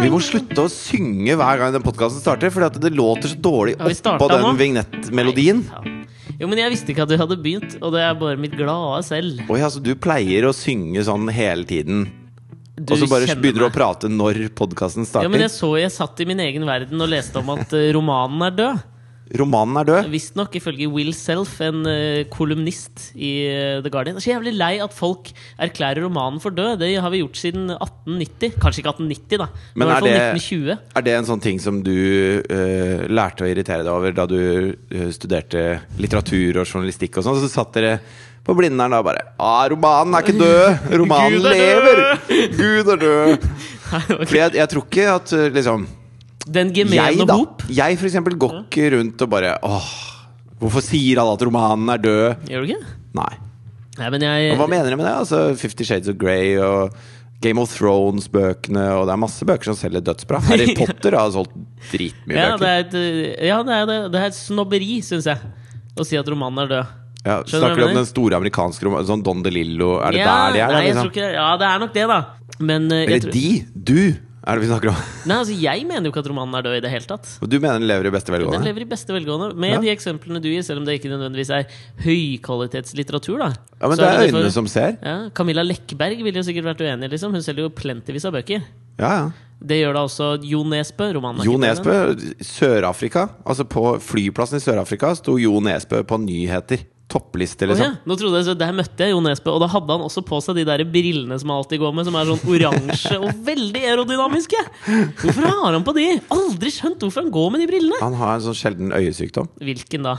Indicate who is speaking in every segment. Speaker 1: Vi må slutte å synge hver gang den podkasten starter, Fordi at det låter så dårlig
Speaker 2: Har vi startet
Speaker 1: oppå den
Speaker 2: nå?
Speaker 1: vignettmelodien.
Speaker 2: Jo, men jeg visste ikke at du hadde begynt, og det er bare mitt glade selv.
Speaker 1: Oi, altså, du pleier å synge sånn hele tiden,
Speaker 2: Du
Speaker 1: og så bare
Speaker 2: kjenner
Speaker 1: begynner du å
Speaker 2: meg.
Speaker 1: prate når podkasten
Speaker 2: Ja, men
Speaker 1: starter.
Speaker 2: jeg så jeg satt i min egen verden og leste om at eh, romanen er død.
Speaker 1: Romanen er død.
Speaker 2: Visstnok ifølge Will Self, en eh, kolumnist i eh, The Guardian. Jeg er så jævlig lei at folk erklærer romanen for død. Det har vi gjort siden 1890. Kanskje ikke 1890, da, men, i
Speaker 1: Men er
Speaker 2: hvert fall
Speaker 1: det-
Speaker 2: 1920.
Speaker 1: Er det en sånn ting som du eh, lærte å irritere deg over da du eh, studerte litteratur og journalistikk og sånn? Så satt dere på Blindern da og bare ah, 'Romanen er ikke død! Romanen
Speaker 2: Gud er
Speaker 1: lever!
Speaker 2: død!»
Speaker 1: Gud er død!' For jeg, jeg tror ikke at eh, liksom
Speaker 2: Den
Speaker 1: jeg,
Speaker 2: gemene
Speaker 1: da,
Speaker 2: hop.
Speaker 1: jeg for eksempel går ikke rundt og bare Åh, hvorfor sier alle at romanen er død?
Speaker 2: Gjør du ikke?
Speaker 1: Nei.
Speaker 2: Nei, men jeg
Speaker 1: Men hva mener de med det? Altså, Fifty Shades of Grey og Game of Thrones-bøkene, og det er masse bøker som selger dødsbra. Harry Potter har solgt dritmye
Speaker 2: ja, det
Speaker 1: bøker.
Speaker 2: er et, eh, ja, det er, det- det er et snobberi, syns jeg, å si at romanen er død.
Speaker 1: Ja,
Speaker 2: skjønner du hva jeg
Speaker 1: snakker du om
Speaker 2: mener?
Speaker 1: den store amerikanske romanen? Sånn Don DeLillo, er det
Speaker 2: ja,
Speaker 1: der de er? da,
Speaker 2: Nei, jeg
Speaker 1: liksom?
Speaker 2: tror ikke, det. ja, det er nok det, da. Men eh, jeg,
Speaker 1: Eller
Speaker 2: tror,
Speaker 1: de? Du? Er det vi snakker om?
Speaker 2: nei, altså, jeg mener jo ikke at romanen er død i det hele tatt.
Speaker 1: Og Du mener den lever i beste
Speaker 2: Den
Speaker 1: velgående?
Speaker 2: lever i beste velgående med
Speaker 1: Ja.
Speaker 2: de eksemplene du gir, selv om det ikke nødvendigvis er høykvalitetslitteratur. da
Speaker 1: Ja, men
Speaker 2: Så
Speaker 1: det er
Speaker 2: for-
Speaker 1: øynene som ser.
Speaker 2: ja, Camilla Lekberg ville jo sikkert vært uenig. liksom Hun selger jo plentyvis av bøker.
Speaker 1: Ja, ja.
Speaker 2: Det gjør da også Jo Nesbø. romanen er
Speaker 1: Jo
Speaker 2: ikke død,
Speaker 1: Nesbø, Sør-Afrika. Altså På flyplassen i Sør-Afrika sto Jo Nesbø på nyheter. Toppliste,
Speaker 2: men- Å,
Speaker 1: liksom.
Speaker 2: ja. Nå trodde jeg så Der møtte jeg Jo Nesbø, og da hadde han også på seg de der brillene som han alltid går med, som er sånn oransje og veldig aerodynamiske. Hvorfor har han på de? Aldri skjønt hvorfor han går med de brillene.
Speaker 1: Han har en sånn sjelden øyesykdom.
Speaker 2: Hvilken da?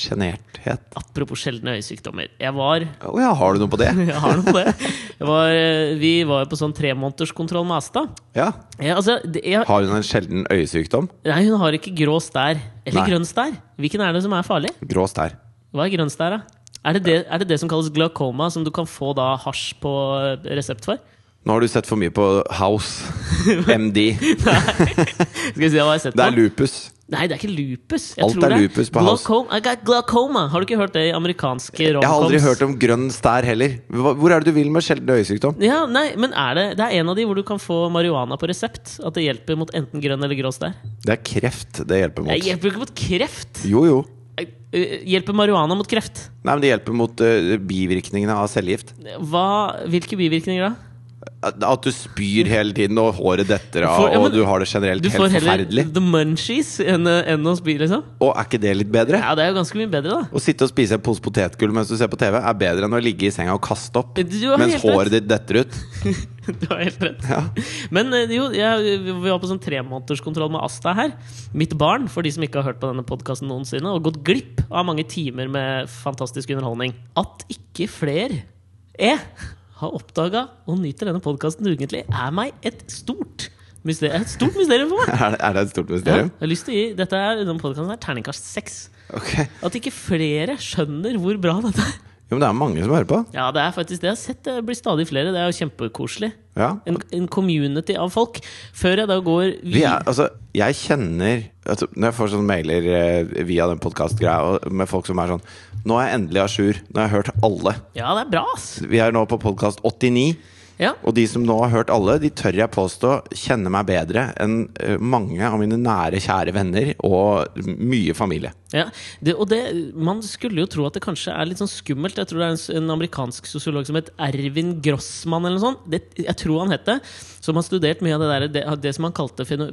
Speaker 1: Sjenerthet.
Speaker 2: Apropos sjeldne øyesykdommer. Jeg var
Speaker 1: Å ja, har du noe på det?
Speaker 2: Jeg har noe på det. Jeg var, eh, vi var jo på sånn tremånederskontroll med Asta.
Speaker 1: Ja.
Speaker 2: Jeg, altså, det, jeg,
Speaker 1: Har hun en sjelden øyesykdom?
Speaker 2: nei, hun har ikke grå stær. Eller
Speaker 1: Nei.
Speaker 2: grønn stær. Hvilken er det som er farlig?
Speaker 1: Grå stær.
Speaker 2: Hva er grønn stær, da? Er det det, er det det som kalles glaucoma, som du kan få da hasj på eh, resept for?
Speaker 1: Nå har du sett for mye på House. MD.
Speaker 2: Skal vi se hva jeg har sett
Speaker 1: Det er
Speaker 2: på?
Speaker 1: lupus.
Speaker 2: Nei, det er ikke lupus. Jeg
Speaker 1: Alt
Speaker 2: tror
Speaker 1: er
Speaker 2: det
Speaker 1: lupus på House.
Speaker 2: glaucoma. I got glaucoma. Har du ikke hørt det i amerikanske romcoms?
Speaker 1: Jeg har aldri hørt om grønn stær heller. Hva- Hvor er det du vil med sjelden øyesykdom?
Speaker 2: Ja, nei, men er det, det er en av de hvor du kan få marihuana på resept. At det hjelper mot enten grønn eller grå stær.
Speaker 1: Det er kreft det
Speaker 2: Det
Speaker 1: hjelper mot.
Speaker 2: hjelper jo ikke mot kreft!
Speaker 1: Jo, jo.
Speaker 2: Eh, Hjelper marihuana mot kreft?
Speaker 1: Nei, men det hjelper mot eh, bivirkningene av cellegift.
Speaker 2: Hva, hvilke bivirkninger da?
Speaker 1: At at du spyr hele tiden, og håret detter av,
Speaker 2: Du får- ja, men-
Speaker 1: og du har det generelt
Speaker 2: Du får
Speaker 1: helt
Speaker 2: heller
Speaker 1: forferdelig.
Speaker 2: the munchies enn, enn å spy, liksom?
Speaker 1: Og er ikke det litt bedre?
Speaker 2: Ja, det er jo ganske mye bedre, da.
Speaker 1: Å sitte og spise en pose potetgull mens du ser på TV, er bedre enn å ligge i senga og kaste opp
Speaker 2: Du har
Speaker 1: mens
Speaker 2: helt
Speaker 1: håret ditt detter ut.
Speaker 2: Du har helt rett.
Speaker 1: Ja.
Speaker 2: Men eh, jo, jeg, vi var på sånn tremånederskontroll med Asta her. Mitt barn, for de som ikke har hørt på denne podkasten noensinne, og gått glipp av mange timer med fantastisk underholdning. At ikke flere er har oppdaga og nyter denne podkasten egentlig, er meg et stort mysterium, et stort mysterium for meg.
Speaker 1: Er, det- er det et stort
Speaker 2: Ja,
Speaker 1: mysterium?
Speaker 2: jeg har lyst til å gi Dette er, denne podcasten er terningkast seks.
Speaker 1: Ok
Speaker 2: At ikke flere skjønner hvor bra dette er.
Speaker 1: Jo, men det er mange som hører på.
Speaker 2: Ja, det er faktisk det. Jeg har sett det blir stadig flere. Det er jo kjempekoselig.
Speaker 1: Ja.
Speaker 2: En, en community av folk. Før jeg da går
Speaker 1: Vi er,
Speaker 2: vid-
Speaker 1: altså, jeg kjenner altså, Når jeg får sånne mailer eh, via den podkastgreia med folk som er sånn Nå er jeg endelig à jour. Nå har jeg hørt alle.
Speaker 2: Ja, det er bra, ass!
Speaker 1: Vi er nå på podkast 89.
Speaker 2: Ja.
Speaker 1: Og de som nå har hørt alle, de tør jeg påstå kjenner meg bedre enn eh, mange av mine nære, kjære venner og mye familie.
Speaker 2: Ja. Det, og det, man skulle jo tro at det kanskje er litt sånn skummelt. Jeg tror det er en, s- en amerikansk sosiolog som het Ervin Grossmann eller noe sånt. Det, jeg tror han het det. Som har studert mye av det, der, det, det som han kalte feno-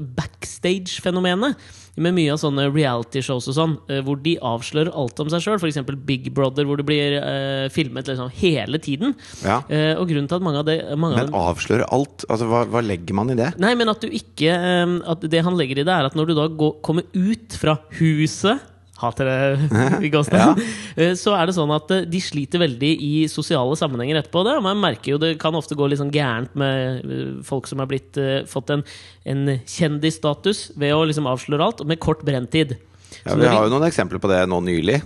Speaker 2: backstage-fenomenet. Med mye av sånne reality-shows og sånn, eh, hvor de avslører alt om seg sjøl. F.eks. Big Brother, hvor det blir eh, filmet liksom hele tiden.
Speaker 1: Ja.
Speaker 2: Eh, og grunnen til at mange av det mange av
Speaker 1: Men
Speaker 2: dem-
Speaker 1: avsløre alt? Altså, hva, hva legger man i det?
Speaker 2: Nei, men at du ikke ehm, At det han legger i det, er at når du da går, kommer ut fra huset Hater det i gåstegn. eh, Så er det sånn at eh, de sliter veldig i sosiale sammenhenger etterpå. Det. Man merker jo det kan ofte gå litt sånn gærent med eh, folk som har blitt, eh, fått en, en kjendisstatus ved å liksom avsløre alt, og med kort brenntid.
Speaker 1: Ja, vi har jo noen eksempler på det nå nylig.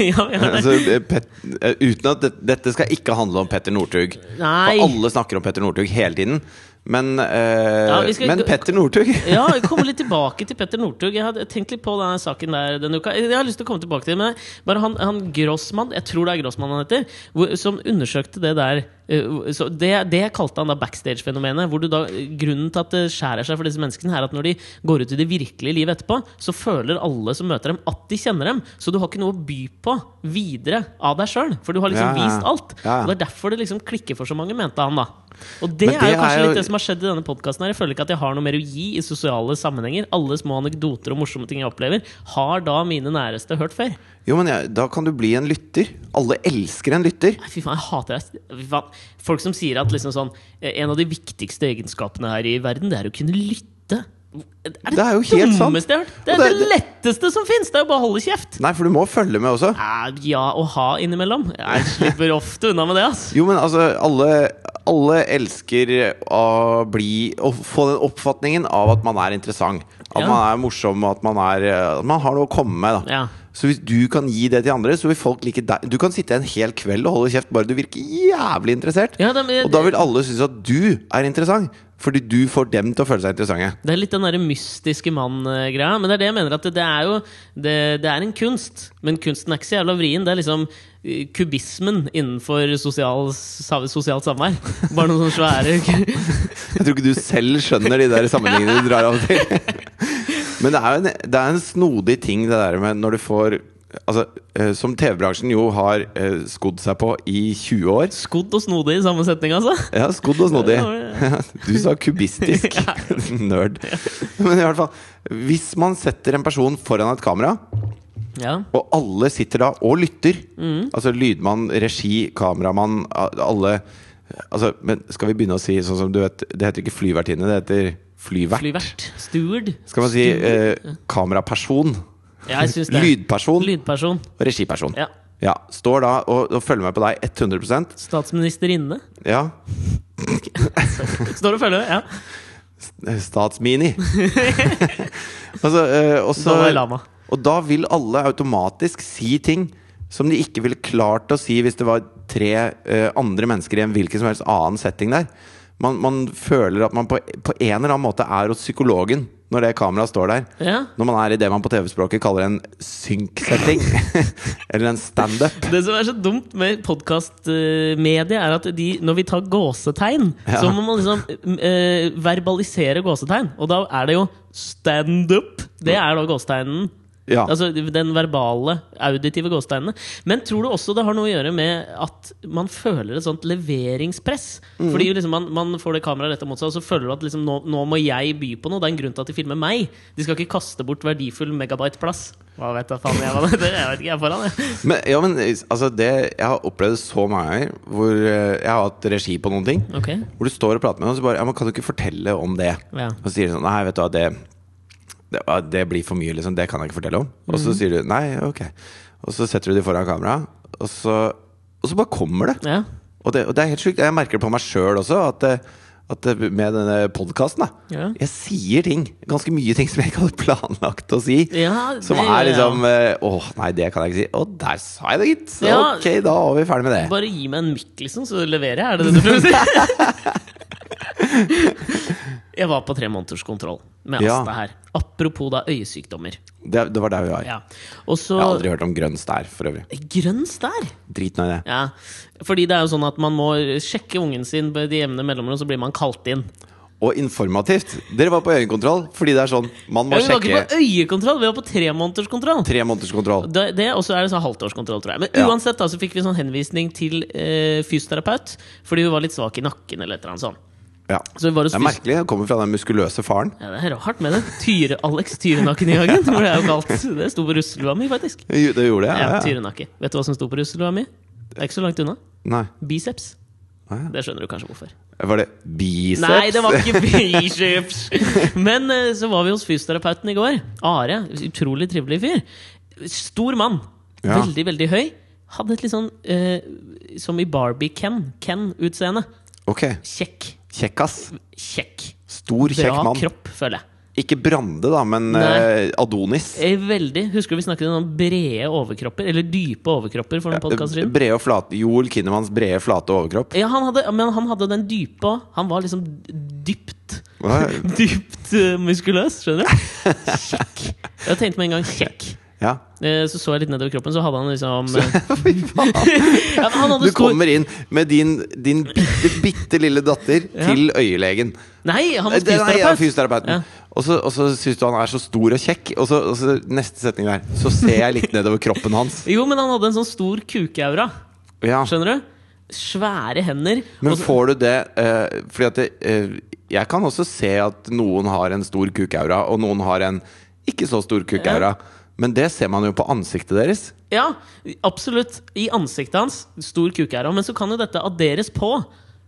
Speaker 2: ja, ja, det-
Speaker 1: Altså, eh, Pet, eh, uten at det, dette skal ikke handle om Petter Northug.
Speaker 2: Nei.
Speaker 1: For alle snakker om Petter Northug hele tiden. Men, eh,
Speaker 2: Ja, vi skal
Speaker 1: men
Speaker 2: gå-
Speaker 1: Petter Northug
Speaker 2: Ja, vi kommer litt tilbake til Petter Northug. Jeg hadde tenkt litt på denne saken der denne uka. Jeg har lyst til å komme tilbake til det, men bare han, han Grossmann, jeg tror det er Grossmann han heter, hvor, som undersøkte det der Eh, Så det, det kalte han da backstage-fenomenet. Hvor du da, grunnen til at det skjærer seg for disse menneskene, er at når de går ut i det virkelige livet etterpå, så føler alle som møter dem, at de kjenner dem. Så du har ikke noe å by på videre av deg sjøl, for du har liksom
Speaker 1: Ja, ja.
Speaker 2: vist alt.
Speaker 1: Ja, ja.
Speaker 2: Og det er derfor det liksom klikker for så mange, mente han da. Og det,
Speaker 1: Men det
Speaker 2: er jo
Speaker 1: er
Speaker 2: kanskje
Speaker 1: jo-
Speaker 2: litt det som har skjedd i denne podkasten her. Jeg føler ikke at jeg har noe mer å gi i sosiale sammenhenger. Alle små anekdoter og morsomme ting jeg opplever, har da mine næreste hørt før.
Speaker 1: Jo, men jeg, da kan du bli en lytter. Alle elsker en lytter.
Speaker 2: Nei, Fy faen, jeg hater deg. Fy faen. Folk som sier at liksom sånn, eh, en av de viktigste egenskapene her i verden, det er å kunne lytte. Det er det,
Speaker 1: Det er jo helt sant.
Speaker 2: dummeste jeg har hørt. Det er
Speaker 1: Og
Speaker 2: det,
Speaker 1: det-
Speaker 2: letteste som fins! Det er jo bare å holde kjeft.
Speaker 1: Nei, for du må følge med også.
Speaker 2: Ja, ja og ha innimellom. Jeg slipper ofte unna med det, ass.
Speaker 1: Jo, men altså, alle, alle elsker å bli Å få den oppfatningen av at man er interessant. At
Speaker 2: Ja.
Speaker 1: man er morsom, og at man, er, at man har noe å komme med. Da.
Speaker 2: Ja.
Speaker 1: Så hvis du kan gi det til andre, så vil folk like deg. Du kan sitte en hel kveld og holde kjeft, bare du virker jævlig interessert.
Speaker 2: Ja, det, men-
Speaker 1: Og da vil alle synes at du er interessant, fordi du får dem til å føle seg interessante.
Speaker 2: Det er litt den derre mystiske mann-greia. Men det er det jeg mener at det, det er jo det, det er en kunst. Men kunsten er ikke så jævla vrien. Det er liksom eh, kubismen innenfor sosial, sa, sosialt samvær. Bare noen sånne svære
Speaker 1: Jeg tror ikke du selv skjønner de der sammenhengene du drar av og til. Men det er jo en, det er en snodig ting, det der med når du får Altså, eh, Som TV-bransjen jo har eh, skodd seg på i 20 år.
Speaker 2: Skodd og snodig i samme setning, altså.
Speaker 1: Ja, skodd og snodig.
Speaker 2: Ja,
Speaker 1: Du sa kubistisk. Nerd. Men i hvert fall Hvis man setter en person foran et kamera,
Speaker 2: Ja.
Speaker 1: og alle sitter da og lytter.
Speaker 2: Mm.
Speaker 1: Altså lydmann, regi, kameramann, a- alle. Altså, men skal vi begynne å si sånn som du vet Det heter ikke flyvertinne, det heter flyvert.
Speaker 2: Flyvert. Steward.
Speaker 1: Skal man si
Speaker 2: Steward.
Speaker 1: eh, kameraperson,
Speaker 2: ja, jeg synes det.
Speaker 1: lydperson
Speaker 2: Lydperson.
Speaker 1: og regiperson.
Speaker 2: Ja.
Speaker 1: Ja, Står da og, og følger med på deg 100
Speaker 2: Statsministerinne.
Speaker 1: Ja.
Speaker 2: Står og følger. Ja.
Speaker 1: Statsmini. altså, eh, og så
Speaker 2: Dalai Lama.
Speaker 1: Og da vil alle automatisk si ting som de ikke ville klart å si hvis det var tre eh, andre mennesker i en hvilken som helst annen setting der. Man, man føler at man på, på en eller annen måte er hos psykologen når det kameraet står der.
Speaker 2: ja.
Speaker 1: Når man er i det man på TV-språket kaller en synk-setting. eller en standup.
Speaker 2: Det som er så dumt med podkastmediet, er at de, når vi tar gåsetegn,
Speaker 1: Ja.
Speaker 2: så må man liksom eh, verbalisere gåsetegn. Og da er det jo standup. Det er da gåsetegnen.
Speaker 1: Ja.
Speaker 2: Altså den verbale, auditive gåsetegnene. Men tror du også det har noe å gjøre med at man føler et sånt leveringspress?
Speaker 1: Mm.
Speaker 2: Fordi liksom man, man får det kameraet retta mot seg, og så føler du at liksom, nå, nå må jeg by på noe. Det er en grunn til at de filmer meg. De skal ikke kaste bort verdifull megabyte-plass. Hva vet jeg faen jeg hva det heter? Jeg vet ikke, jeg er foran, jeg.
Speaker 1: Men, ja, men altså, det Jeg har opplevd det så mange ganger hvor eh, jeg har hatt regi på noen ting.
Speaker 2: Ok.
Speaker 1: Hvor du står og prater med noen, og så bare ja, men 'Kan du ikke fortelle om det?'
Speaker 2: Ja.
Speaker 1: Og så sier de sånn 'Nei, vet du hva, det, det, ja, det blir for mye, liksom. Det kan jeg ikke fortelle om.' Og så sier du 'Nei, ok'. Og så setter du dem foran kamera, og så, og så bare kommer det.
Speaker 2: Ja.
Speaker 1: Og det, og det er helt sjukt. Jeg merker det på meg sjøl også, at, det- at det- med denne podkasten
Speaker 2: Ja.
Speaker 1: Jeg sier ting, ganske mye ting som jeg ikke hadde planlagt å si.
Speaker 2: Ja,
Speaker 1: Som
Speaker 2: det
Speaker 1: er
Speaker 2: gjør jeg
Speaker 1: liksom eh, Åh, nei, det kan jeg ikke si. Å, der sa jeg det, gitt! Så
Speaker 2: Ja.
Speaker 1: Ok, da var vi ferdig med det.
Speaker 2: Bare gi meg en mikk, liksom, så leverer jeg. Er det det du prøver å si? jeg var på tre måneders kontroll med
Speaker 1: Ja.
Speaker 2: Asta her. Apropos da øyesykdommer.
Speaker 1: det. Det var der vi var.
Speaker 2: Ja. Og så
Speaker 1: Jeg har aldri hørt om grønn stær, for øvrig.
Speaker 2: Grønn stær!
Speaker 1: Drit nå i det.
Speaker 2: Ja. Fordi det er jo sånn at man må sjekke ungen sin på de jevne mellomrom, så blir man kalt inn.
Speaker 1: og informativt. Dere var på øyekontroll fordi det er sånn man må
Speaker 2: Ja, Vi var ikke
Speaker 1: sjekke
Speaker 2: på øyekontroll, vi var på tre måneders kontroll.
Speaker 1: tre måneders kontroll.
Speaker 2: det, det, og så er det sånn halvtårskontroll, tror jeg. Men
Speaker 1: Ja.
Speaker 2: uansett da, så fikk vi sånn henvisning til eh, fysioterapeut fordi hun var litt svak i nakken. eller et eller annet sånt.
Speaker 1: Ja.
Speaker 2: Så vi var hos
Speaker 1: Det er
Speaker 2: fys-
Speaker 1: merkelig. Det kommer fra den muskuløse faren.
Speaker 2: ja, det er rart med det. Tyre, Alex Tyrenakken i hagen, hvor det er jo kalt. Det sto på russelua mi, faktisk.
Speaker 1: Jo, Det gjorde jeg.
Speaker 2: Ja,
Speaker 1: Ja, ja.
Speaker 2: Tyrenakke. Vet du hva som sto på russelua mi? Det er ikke så langt unna.
Speaker 1: Nei.
Speaker 2: Biceps.
Speaker 1: Hæ?
Speaker 2: Det skjønner du kanskje hvorfor.
Speaker 1: Var det biceps?
Speaker 2: Nei, det var ikke biceps! Men eh, så var vi hos fysioterapeuten i går. Are. Utrolig trivelig fyr. Stor mann.
Speaker 1: Ja.
Speaker 2: Veldig, veldig høy. Hadde et litt sånn eh, som i Barbie-Ken. Ken-utseende.
Speaker 1: Ok.
Speaker 2: Kjekk.
Speaker 1: Kjekkas.
Speaker 2: Kjekk.
Speaker 1: Stor, kjekk
Speaker 2: Bra
Speaker 1: mann.
Speaker 2: kropp, føler jeg.
Speaker 1: Ikke Brande, da, men
Speaker 2: Nei.
Speaker 1: eh, Adonis.
Speaker 2: Eh, Veldig. Husker du vi snakket om brede overkropper? Eller dype overkropper for noen podkaster siden?
Speaker 1: Brede og flate Joel Kinnemans brede, flate overkropp.
Speaker 2: Ja, han hadde, men han hadde den dype òg. Han var liksom dypt
Speaker 1: Hva?
Speaker 2: Dypt eh, muskuløs, skjønner du? Kjekk. Jeg tenkte med en gang kjekk.
Speaker 1: Ja.
Speaker 2: Eh, Så så jeg litt nedover kroppen, så hadde han liksom
Speaker 1: Fy faen!
Speaker 2: ja, men han
Speaker 1: Du
Speaker 2: hadde stor...
Speaker 1: kommer inn med din, din bitte, bitte lille datter
Speaker 2: Ja.
Speaker 1: til øyelegen.
Speaker 2: Nei, han
Speaker 1: Nei,
Speaker 2: var
Speaker 1: Eh, nei, ja,
Speaker 2: fysioterapeut!
Speaker 1: fysioterapeuten.
Speaker 2: Ja.
Speaker 1: Og så, og så syns du han er så stor og kjekk, og så, og så neste setning der Så ser jeg litt nedover kroppen hans.
Speaker 2: Jo, men han hadde en sånn stor kukeaura.
Speaker 1: Ja.
Speaker 2: Skjønner du? Svære hender.
Speaker 1: Men
Speaker 2: og så-
Speaker 1: får du det eh, Fordi at det, eh, jeg kan også se at noen har en stor kukaura, og noen har en ikke så stor kukaura. Men det ser man jo på ansiktet deres.
Speaker 2: ja, absolutt. I ansiktet hans. Stor kukeaura. Men så kan jo dette adderes på.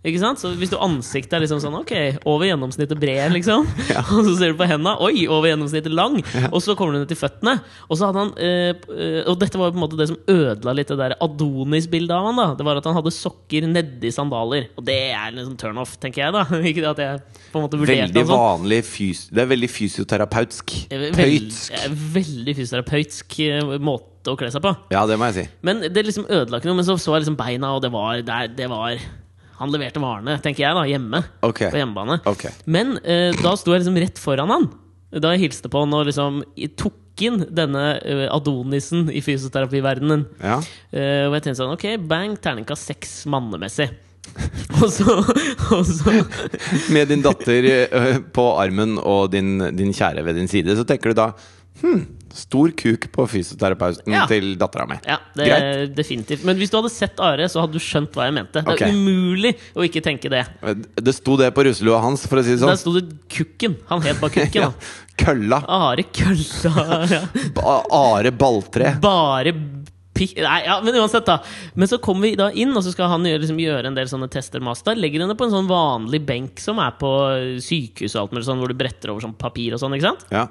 Speaker 2: Ikke sant? Så Hvis du ansiktet er liksom sånn Ok, over gjennomsnittet bred, liksom. Og så ser du på henda. Oi, over gjennomsnittet lang. Og så kommer du ned til føttene. Og så hadde han eh, eh, Og dette var jo på en måte det som ødela litt det der Adonis-bildet av han da Det var at han hadde sokker nedi sandaler. Og det er liksom turnoff, tenker jeg, da. Ikke det at jeg på en måte vurderte
Speaker 1: Veldig
Speaker 2: han sånn.
Speaker 1: vanlig fys Det er veldig fysioterapeutsk.
Speaker 2: Veld-
Speaker 1: Pøytsk.
Speaker 2: eh, Veldig fysioterapeutisk eh, måte å kle seg på.
Speaker 1: Ja, det må jeg si.
Speaker 2: Men det liksom ødela ikke noe. Men så så jeg liksom beina, og det var, der, det var Han leverte varene, tenker jeg, da, hjemme.
Speaker 1: Ok.
Speaker 2: På hjemmebane.
Speaker 1: Ok.
Speaker 2: Men eh, da sto jeg liksom rett foran han. Da jeg hilste på han og liksom i- tok inn denne eh, Adonisen i fysioterapiverdenen.
Speaker 1: Ja.
Speaker 2: Eh, og jeg tenkte sånn Ok, bang, terningkast seks mannemessig. og så, og så
Speaker 1: Med din datter eh, på armen og din, din kjære ved din side, så tenker du da Hm, stor kuk på fysioterapeuten
Speaker 2: Ja.
Speaker 1: til dattera mi.
Speaker 2: Ja, det er definitivt. Men hvis du hadde sett Are, så hadde du skjønt hva jeg mente. Det er
Speaker 1: Ok.
Speaker 2: umulig å ikke tenke det.
Speaker 1: Det sto det på russelua hans, for å si det
Speaker 2: Der
Speaker 1: sånn.
Speaker 2: sto det Kukken. Han het bare Kukken.
Speaker 1: Ja.
Speaker 2: da.
Speaker 1: Kølla.
Speaker 2: Are Kølla. ja.
Speaker 1: Ba- Are Balltre.
Speaker 2: Bare pikk... Nei, ja, men uansett, da. Men så kommer vi da inn, og så skal han gjøre, liksom, gjøre en del sånne tester med oss. Da legger han det på en sånn vanlig benk som er på sykehus og alt mulig sånn, hvor du bretter over sånn papir og sånn, ikke sant?
Speaker 1: Ja.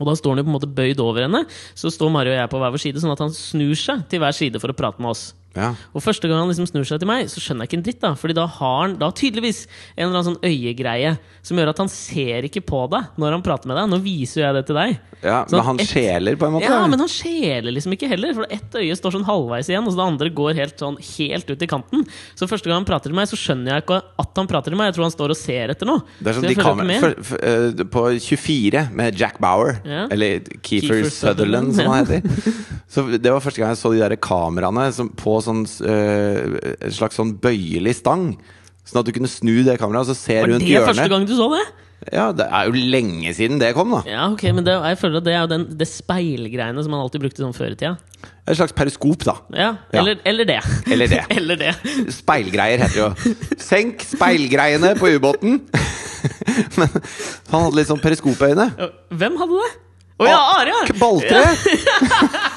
Speaker 2: Og da står han jo på en måte bøyd over henne. Så står Mario og jeg på hver vår side, sånn at han snur seg til hver side for å prate med oss.
Speaker 1: ja.
Speaker 2: Og første gang han liksom snur seg til meg, så skjønner jeg ikke en dritt. da Fordi da har han da tydeligvis en eller annen sånn øyegreie som gjør at han ser ikke på deg når han prater med deg. Nå viser jo jeg det til deg.
Speaker 1: Ja,
Speaker 2: Sånn
Speaker 1: men han
Speaker 2: et-
Speaker 1: skjeler på en måte?
Speaker 2: Ja, men han skjeler liksom ikke heller. For ett øye står sånn halvveis igjen, og så det andre går helt sånn helt ut i kanten. Så første gang han prater til meg, så skjønner jeg ikke at han prater til meg. Jeg tror han står og ser etter noe.
Speaker 1: det
Speaker 2: Så
Speaker 1: er som
Speaker 2: jeg
Speaker 1: de
Speaker 2: følger
Speaker 1: kamer,
Speaker 2: ikke med.
Speaker 1: for, for, eh, På 24 med Jack Bauer,
Speaker 2: Ja.
Speaker 1: eller Keefer,
Speaker 2: Kiefer Sutherland,
Speaker 1: Sutherland, som han heter. Så Det var første gang jeg så de der kameraene som, på sånn, eh, en slags sånn bøyelig stang. Sånn at du kunne snu det kameraet og så se
Speaker 2: Var
Speaker 1: rundt
Speaker 2: det første
Speaker 1: hjørnet.
Speaker 2: gang du så det?
Speaker 1: Ja, Det er jo lenge siden det kom, da.
Speaker 2: Ja, ok, men det, jeg føler at det er jo den, det speilgreiene som han alltid brukte sånn før i tida.
Speaker 1: Et slags periskop, da.
Speaker 2: Ja,
Speaker 1: Ja.
Speaker 2: Eller, eller det.
Speaker 1: Eller det.
Speaker 2: eller det.
Speaker 1: Speilgreier heter det jo. Senk speilgreiene på ubåten! Men han hadde litt sånn periskopøyne.
Speaker 2: Ja, Hvem hadde det? Å ja, Are! ja.
Speaker 1: Balltre!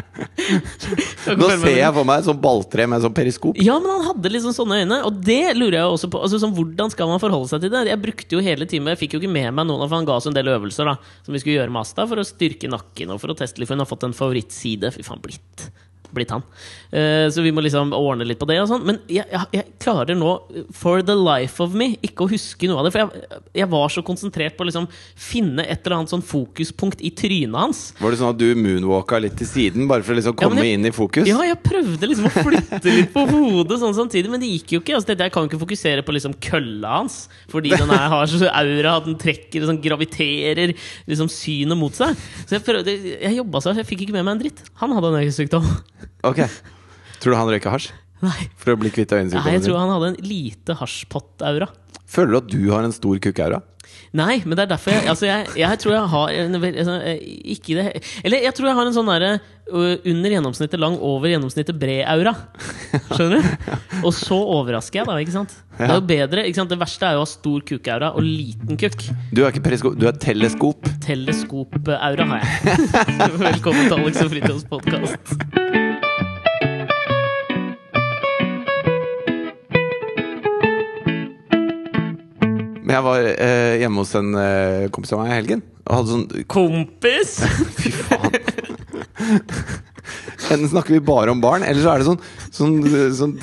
Speaker 2: Skal ikke
Speaker 1: Nå
Speaker 2: følge med
Speaker 1: ser
Speaker 2: videre.
Speaker 1: jeg for meg et sånt balltre med sånn periskop.
Speaker 2: Ja, men han hadde liksom sånne øyne, og det lurer jeg jo også på. Altså, sånn, hvordan skal man forholde seg til det? Jeg brukte jo hele timen, jeg fikk jo ikke med meg noen, for han ga oss en del øvelser da som vi skulle gjøre med Asta for å styrke nakken og for å teste litt, for hun har fått en favorittside. Fy faen, blitt. Blitt han. Eh, så vi må liksom ordne litt på det og sånn. Men jeg, jeg, jeg klarer nå, for the life of me, ikke å huske noe av det. For jeg, jeg var så konsentrert på å liksom finne et eller annet sånn fokuspunkt i trynet hans.
Speaker 1: Var det sånn at du moonwalka litt til siden bare for å liksom
Speaker 2: Ja,
Speaker 1: komme
Speaker 2: men jeg-
Speaker 1: inn i fokus?
Speaker 2: Ja, jeg prøvde liksom å flytte litt på hodet sånn samtidig, men det gikk jo ikke. Altså, tenkte jeg jeg kan ikke fokusere på liksom kølla hans, fordi den her har så aura at den trekker og sånn graviterer liksom synet mot seg. Så jeg prøvde, jeg jobba så hardt, jeg fikk ikke med meg en dritt. Han hadde en øyesykdom.
Speaker 1: Ok Tror du han røyker hasj
Speaker 2: Nei.
Speaker 1: for å bli kvitt
Speaker 2: Nei,
Speaker 1: øyensykdommen
Speaker 2: jeg tror
Speaker 1: sin?
Speaker 2: han hadde en lite hasjpott-aura.
Speaker 1: Føler du at du har en stor kukkaura?
Speaker 2: Nei, men det er derfor jeg Altså, jeg, jeg tror jeg har en, vel- altså, eh, Ikke i det he- Eller jeg tror jeg har en sånn derre ø, under gjennomsnittet lang, over gjennomsnittet bred-aura. Skjønner du? Og så overrasker jeg, da. ikke sant? Det er jo bedre, ikke sant? Det verste er jo å ha stor kukaura og liten kukk.
Speaker 1: Du er ikke periskop, du er teleskop.
Speaker 2: Teleskopaura har jeg. Velkommen til Alex og Fridtjofs podkast.
Speaker 1: Men jeg var eh, hjemme hos en eh, kompis av meg i helgen og hadde sånn
Speaker 2: Kompis!
Speaker 1: Fy faen. Enten snakker vi bare om barn, eller så er det sånn, sånn, sånn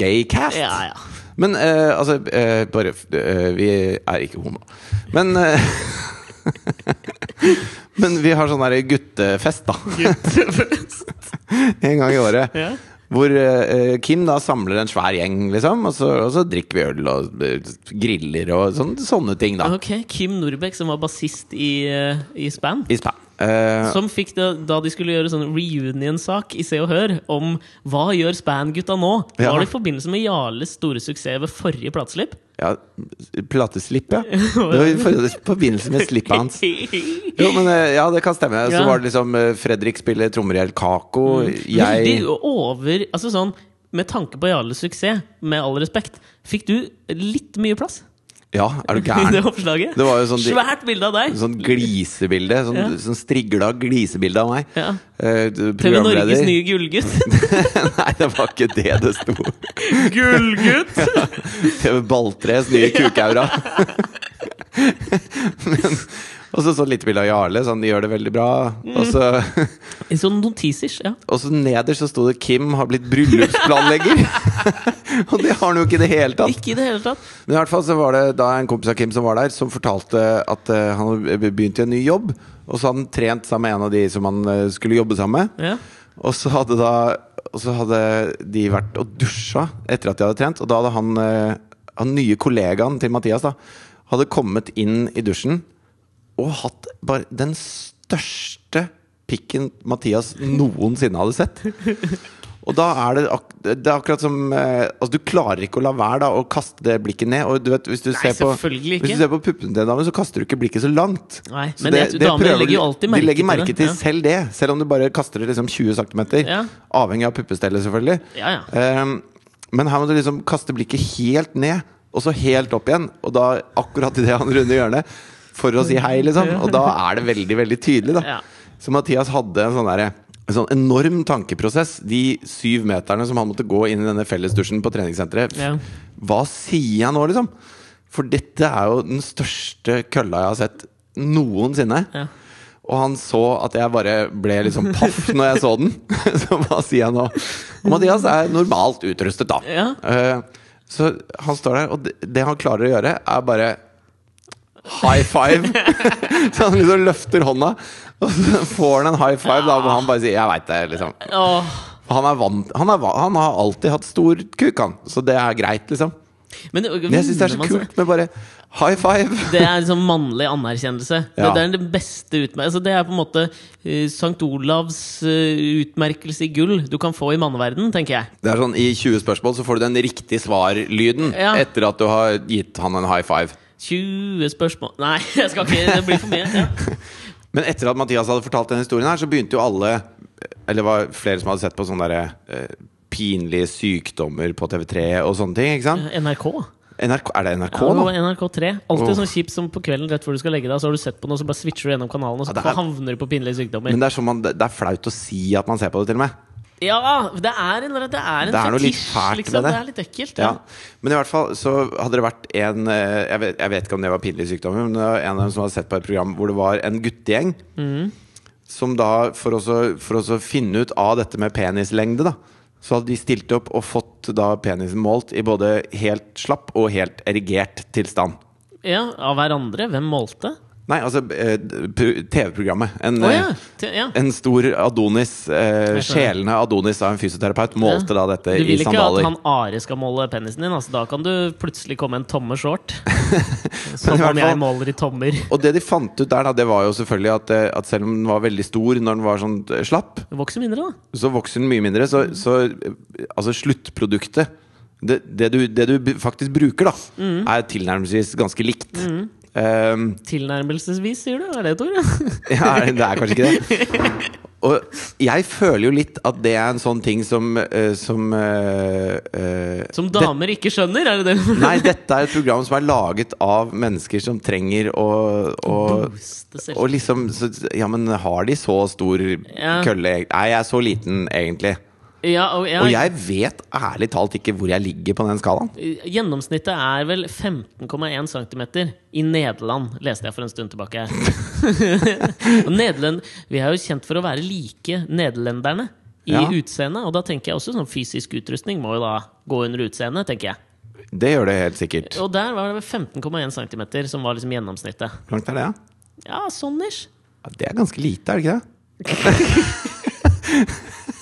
Speaker 1: gaycast.
Speaker 2: Ja, ja.
Speaker 1: Men eh, altså eh, Bare eh, Vi er ikke homo. Men eh, Men vi har sånn der guttefest, da.
Speaker 2: Guttefest.
Speaker 1: En gang i året.
Speaker 2: Ja.
Speaker 1: Hvor eh, Kim da samler en svær gjeng, liksom. Og så, og så drikker vi øl og eh, griller og sånn, sånne ting, da.
Speaker 2: Ok, Kim Norbekk, som var bassist i, eh, i Span.
Speaker 1: I span. Eh,
Speaker 2: Som fikk det da de skulle gjøre sånn reunion-sak i Se og Hør om hva gjør Span-gutta nå?
Speaker 1: Ja.
Speaker 2: Var det i forbindelse med Jarles store suksess ved forrige plateslipp?
Speaker 1: ja, plateslipp, ja. Det var i for- i forbindelse med slippet hans. Jo, men eh, ja, det kan stemme. Så
Speaker 2: Ja. Mm.
Speaker 1: var det liksom eh, Fredrik spiller trommer i El Caco. Jeg
Speaker 2: Veldig over Altså sånn med tanke på Jarles suksess, med all respekt, fikk du litt mye plass
Speaker 1: Ja, er
Speaker 2: i
Speaker 1: du
Speaker 2: det
Speaker 1: gæren?
Speaker 2: oppslaget?
Speaker 1: Det var jo sånn de-
Speaker 2: Svært bilde av deg!
Speaker 1: Sånn glisebilde. Sånn,
Speaker 2: Ja.
Speaker 1: sånn strigla glisebilde av meg.
Speaker 2: Ja.
Speaker 1: Eh, du-
Speaker 2: TV Norges
Speaker 1: programleder.
Speaker 2: nye gullgutt.
Speaker 1: Nei, det var ikke det det sto.
Speaker 2: gullgutt!
Speaker 1: TV Balltres nye kukaura. Men- Og så sånn lite bilde av Jarle. Sånn, de gjør det veldig bra.
Speaker 2: Mm.
Speaker 1: Og så,
Speaker 2: sånn notisers, ja.
Speaker 1: og så nederst så sto det 'Kim har blitt bryllupsplanlegger'. Og det har han jo ikke i det hele tatt.
Speaker 2: Ikke i det hele tatt.
Speaker 1: Men i hvert fall så var det da en kompis av Kim som var der, som fortalte at eh, han hadde be- begynt i en ny jobb. Og så hadde han trent sammen med en av de som han eh, skulle jobbe sammen med.
Speaker 2: Ja.
Speaker 1: Og så hadde da Og så hadde de vært og dusja etter at de hadde trent. Og da hadde han, eh, han nye kollegaen til Mathias da hadde kommet inn i dusjen og hatt bare den største pikken Mathias noensinne hadde sett. Og da er det, ak det er akkurat som eh, Altså Du klarer ikke å la være da å kaste det blikket ned. Og du vet, hvis du
Speaker 2: Nei,
Speaker 1: ser på
Speaker 2: selvfølgelig
Speaker 1: Hvis
Speaker 2: ikke.
Speaker 1: du ser på puppene til en dame, så kaster du ikke blikket så langt.
Speaker 2: Nei,
Speaker 1: så
Speaker 2: men jeg tror damer
Speaker 1: prøver
Speaker 2: legger jo
Speaker 1: de-
Speaker 2: alltid
Speaker 1: De
Speaker 2: merke
Speaker 1: legger
Speaker 2: til
Speaker 1: merke
Speaker 2: det,
Speaker 1: til
Speaker 2: ja.
Speaker 1: selv det. Selv om du bare kaster det liksom 20 cm.
Speaker 2: Ja.
Speaker 1: Avhengig av puppestellet, selvfølgelig.
Speaker 2: Ja, ja.
Speaker 1: Ehm, men her må du liksom kaste blikket helt ned, og så helt opp igjen. Og da akkurat idet han runder hjørnet, for å si hei, liksom. Og da er det veldig, veldig tydelig, da.
Speaker 2: Ja.
Speaker 1: Så Mathias hadde en sånn derre en sånn enorm tankeprosess. De syv meterne som han måtte gå inn i denne fellesdusjen på treningssenteret.
Speaker 2: Ja.
Speaker 1: Hva sier jeg nå, liksom? For dette er jo den største kølla jeg har sett noensinne.
Speaker 2: Ja.
Speaker 1: Og han så at jeg bare ble liksom paff når jeg så den. Så hva sier jeg nå? Og Mathias er normalt utrustet, da.
Speaker 2: Ja.
Speaker 1: Eh, Så han står der, og det- det han klarer å gjøre, er bare high five. Så han liksom løfter hånda, og så får han en high five, da, hvor han bare sier 'jeg veit det', liksom.
Speaker 2: Åh.
Speaker 1: Han, er vant, han, er, va- han har alltid hatt stor kuk, han. Så det er greit, liksom.
Speaker 2: Men, øh,
Speaker 1: Men jeg syns det er så
Speaker 2: man seg?
Speaker 1: kult med bare high five.
Speaker 2: Det er liksom mannlig anerkjennelse.
Speaker 1: Ja.
Speaker 2: Det, det er den beste utmerkelse altså, Det er på en måte eh, Sankt Olavs eh, utmerkelse i gull du kan få i manneverden, tenker jeg.
Speaker 1: Det er sånn, I 20 spørsmål så får du den riktige svarlyden
Speaker 2: Ja.
Speaker 1: etter at du har gitt han en high five.
Speaker 2: 20 spørsmål Nei, jeg skal ikke, det blir for mye. Ja.
Speaker 1: Men etter at Mathias hadde fortalt denne historien, her så begynte jo alle Eller det var flere som hadde sett på sånne der, eh, pinlige sykdommer på TV3 og sånne ting. ikke sant?
Speaker 2: NRK?
Speaker 1: NRK, er det NRK
Speaker 2: Ja, det
Speaker 1: nå?
Speaker 2: var NRK3. Alltid
Speaker 1: Åh.
Speaker 2: sånn kjipt som på kvelden rett før du skal legge deg, så har du sett på noe, så bare switcher du gjennom kanalen, og så
Speaker 1: Ja, det er-
Speaker 2: havner du på pinlige sykdommer.
Speaker 1: Men det er, sånn man, det er flaut å si at man ser på det, til og med.
Speaker 2: Ja! Det er en, eller annen- det er en
Speaker 1: Det er noe litt
Speaker 2: fetisj,
Speaker 1: fælt med
Speaker 2: liksom.
Speaker 1: det.
Speaker 2: Det er litt ekkelt.
Speaker 1: Ja. Men i hvert fall så hadde det vært en eh, Jeg vet, jeg vet ikke om det var pinlige sykdommer, men det var en av dem som hadde sett på et program hvor det var en guttegjeng
Speaker 2: Mhm.
Speaker 1: som da, for å så- for å så finne ut av dette med penislengde, da så hadde de stilt opp og fått da penisen målt i både helt slapp og helt erigert tilstand.
Speaker 2: Ja, Av hverandre. Hvem målte?
Speaker 1: Nei, altså eh, p- TV-programmet. En,
Speaker 2: Å ja.
Speaker 1: eh,
Speaker 2: Te- ja.
Speaker 1: en stor Adonis, eh,
Speaker 2: Jeg skjønner.
Speaker 1: sjelende Adonis av en fysioterapeut, målte da dette
Speaker 2: Du
Speaker 1: i
Speaker 2: vil ikke at
Speaker 1: sandaler.
Speaker 2: han Are skal måle penisen din? Altså, da kan du plutselig komme en tomme short.
Speaker 1: Men
Speaker 2: Som
Speaker 1: i hvert
Speaker 2: om jeg
Speaker 1: fall-
Speaker 2: måler i tommer.
Speaker 1: Og det de fant ut der, da, det var jo selvfølgelig at, eh, at selv om den var veldig stor når den var sånn eh, slapp,
Speaker 2: Det vokser mindre, da.
Speaker 1: så vokser den mye mindre. Så, så eh, altså sluttproduktet det, det, du, det du b- faktisk bruker, da, er tilnærmelsesvis ganske likt. Um,
Speaker 2: Tilnærmelsesvis, sier du? Er det et ord?
Speaker 1: ja, er det det er kanskje ikke det. Og jeg føler jo litt at det er en sånn ting som, eh, som eh, eh,
Speaker 2: Som
Speaker 1: det-
Speaker 2: damer ikke skjønner, er det det?
Speaker 1: Nei, dette er et program som er laget av mennesker som trenger å, å
Speaker 2: Booste selv.
Speaker 1: Og liksom så, Ja, men har de så stor
Speaker 2: Ja.
Speaker 1: kølle eg- Nei, jeg er så liten, egentlig.
Speaker 2: Ja, og, ja,
Speaker 1: Og jeg vet ærlig talt ikke hvor jeg ligger på den skalaen.
Speaker 2: Gjennomsnittet er vel 15,1 cm i Nederland, leste jeg for en stund tilbake. og Nederland, vi er jo kjent for å være like nederlenderne i
Speaker 1: Ja.
Speaker 2: utseende, og da tenker jeg også sånn fysisk utrustning må jo da gå under utseende, tenker jeg.
Speaker 1: Det gjør det helt sikkert.
Speaker 2: Og der var det vel 15,1 cm som var liksom gjennomsnittet.
Speaker 1: Hvor langt er det, da?
Speaker 2: Ja, sånn ish.
Speaker 1: Ja, det er ganske lite, er det ikke det?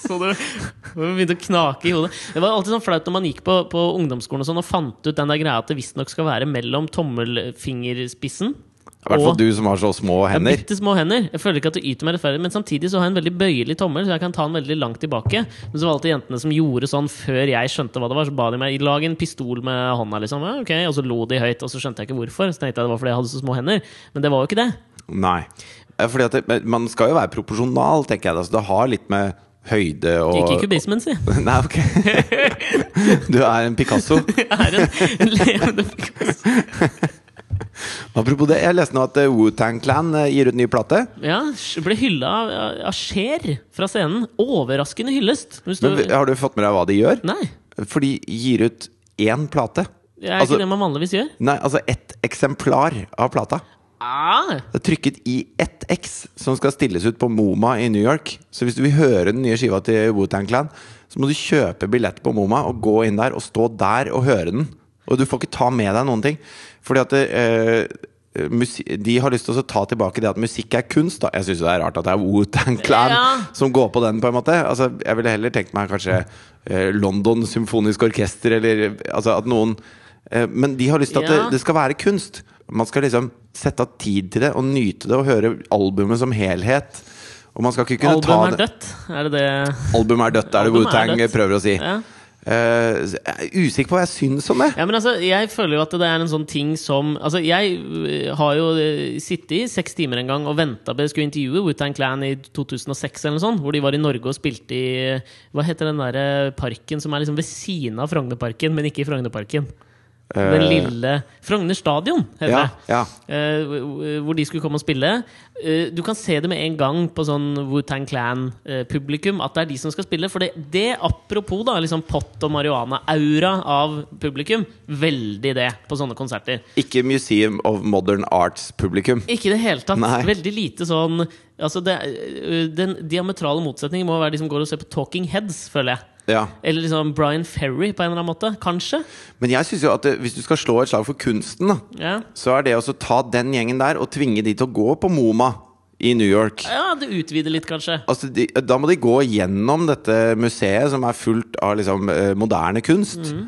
Speaker 2: Så det det begynte å knake i hodet. Det var alltid sånn flaut når man gikk på, på ungdomsskolen og sånn og fant ut den der greia at det visstnok skal være mellom tommelfingerspissen
Speaker 1: I hvert fall
Speaker 2: og
Speaker 1: du som har så små hender.
Speaker 2: Bitte små hender. Jeg føler ikke at det yter meg rettferdig, men samtidig så har jeg en veldig bøyelig tommel, så jeg kan ta den veldig langt tilbake. Men så var det alltid jentene som gjorde sånn før jeg skjønte hva det var, så ba de meg lage en pistol med hånda, liksom. Ja, ok, Og så lo de høyt, og så skjønte jeg ikke hvorfor. Så tenkte jeg det var fordi jeg hadde så små hender. Men det var jo ikke det.
Speaker 1: Nei. Eh, Fordi at det, men man skal jo være proporsjonal, tenker jeg. da, Så det har litt med høyde og
Speaker 2: Ikke i kubismen, si.
Speaker 1: Nei, ok. Du er en Picasso.
Speaker 2: Jeg er en, en levende
Speaker 1: Apropos det, jeg leste nå at eh, Wu-Tang Clan eh, gir ut ny plate.
Speaker 2: Ja, ble hylla av, av Cher fra scenen. Overraskende hyllest. Hun
Speaker 1: Men
Speaker 2: står-
Speaker 1: har du fått med deg hva de gjør?
Speaker 2: Nei.
Speaker 1: For de gir ut én plate.
Speaker 2: Det er
Speaker 1: Altså-
Speaker 2: ikke det man vanligvis gjør.
Speaker 1: Nei, altså ett eksemplar av plata.
Speaker 2: Ah,
Speaker 1: Det er trykket i ett X, som skal stilles ut på MoMA i New York. Så hvis du vil høre den nye skiva til Wu-Tang Clan, så må du kjøpe billett på MoMA og gå inn der og stå der og høre den. Og du får ikke ta med deg noen ting. Fordi at eh, musi de har lyst til å ta tilbake det at musikk er kunst. Da. Jeg syns det er rart at det er Wu-Tang Clan
Speaker 2: Ja.
Speaker 1: som går på den, på en måte. Altså, jeg ville heller tenkt meg kanskje eh, London Symfonisk Orkester, eller altså at noen eh, Men de har lyst til at
Speaker 2: Ja.
Speaker 1: det, det skal være kunst. Man skal liksom sette av tid til det og nyte det og høre albumet som helhet. Og man skal ikke kunne ta
Speaker 2: albumet er
Speaker 1: det.
Speaker 2: dødt. Er det det
Speaker 1: Albumet er dødt, er det
Speaker 2: Albumet er
Speaker 1: Wu-Tang
Speaker 2: dødt.
Speaker 1: prøver å si.
Speaker 2: ja.
Speaker 1: Eh, så jeg er usikker på hva jeg syns om det.
Speaker 2: ja, men altså, jeg føler jo at det er en sånn ting som Altså, jeg øh, har jo øh, sittet i seks timer en gang og venta på jeg skulle intervjue Wutan Clan i 2006 eller noe sånt, hvor de var i Norge og spilte i øh, Hva heter den derre parken som er liksom ved siden av Frognerparken, men ikke i Frognerparken? Den
Speaker 1: Eh,
Speaker 2: lille Frogner stadion, heter
Speaker 1: ja,
Speaker 2: det.
Speaker 1: ja.
Speaker 2: Eh, hvor- hvor de skulle komme og spille. Eh, du kan se det med en gang på sånn Wu-Tang Clan-publikum at det er de som skal spille. For det, det apropos da liksom pott og marihuana-aura av publikum, veldig det på sånne konserter.
Speaker 1: Ikke Museum of Modern Arts-publikum.
Speaker 2: Ikke i det hele tatt.
Speaker 1: Nei.
Speaker 2: Veldig lite sånn altså det, eh, Den diametrale motsetningen må være de som går og ser på Talking Heads, føler jeg.
Speaker 1: Ja.
Speaker 2: Eller liksom Brian Ferry på en eller annen måte. Kanskje.
Speaker 1: Men jeg syns jo at eh, hvis du skal slå et slag for kunsten, da,
Speaker 2: Ja,
Speaker 1: så er det også å ta den gjengen der og tvinge de til å gå på MoMA i New York.
Speaker 2: ja det utvider litt, kanskje.
Speaker 1: Altså, de, da må de gå gjennom dette museet som er fullt av liksom, eh, moderne kunst.
Speaker 2: Mm.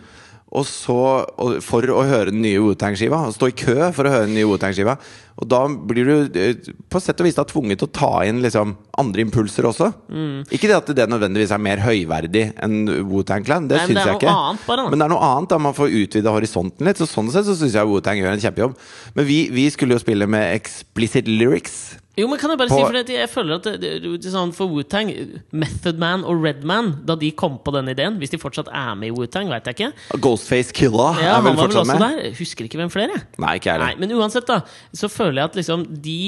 Speaker 1: Og så, og, for å høre den nye Wu-Tang-skiva. og Stå i kø for å høre den nye Wu-Tang-skiva. Og da blir du eh, på sett og vis da tvunget til å ta inn liksom, andre impulser også.
Speaker 2: Mm.
Speaker 1: Ikke det at det nødvendigvis er mer høyverdig enn Wu-Tang Clan, det
Speaker 2: Nei, men
Speaker 1: syns
Speaker 2: det er
Speaker 1: jeg
Speaker 2: noe
Speaker 1: ikke.
Speaker 2: annet bare, da.
Speaker 1: Men det er noe annet, da. Man får utvida horisonten litt. Så sånn sett så syns jeg Wu-Tang gjør en kjempejobb. Men vi, vi skulle jo spille med explicit lyrics.
Speaker 2: Jo, men kan jeg bare
Speaker 1: På-
Speaker 2: si, for at jeg føler at det, det, det, sånn For Wu-Tang, Method Man og Redman, da de kom på den ideen Hvis de fortsatt er med i Wu-Tang, vet jeg ikke.
Speaker 1: Ghostface Killa
Speaker 2: Ja,
Speaker 1: er
Speaker 2: han
Speaker 1: vel
Speaker 2: var vel
Speaker 1: fortsatt
Speaker 2: også
Speaker 1: med?
Speaker 2: der. Husker ikke hvem flere. jeg.
Speaker 1: Nei, ikke jeg
Speaker 2: Nei,
Speaker 1: heller.
Speaker 2: men uansett, da, så føler jeg at liksom de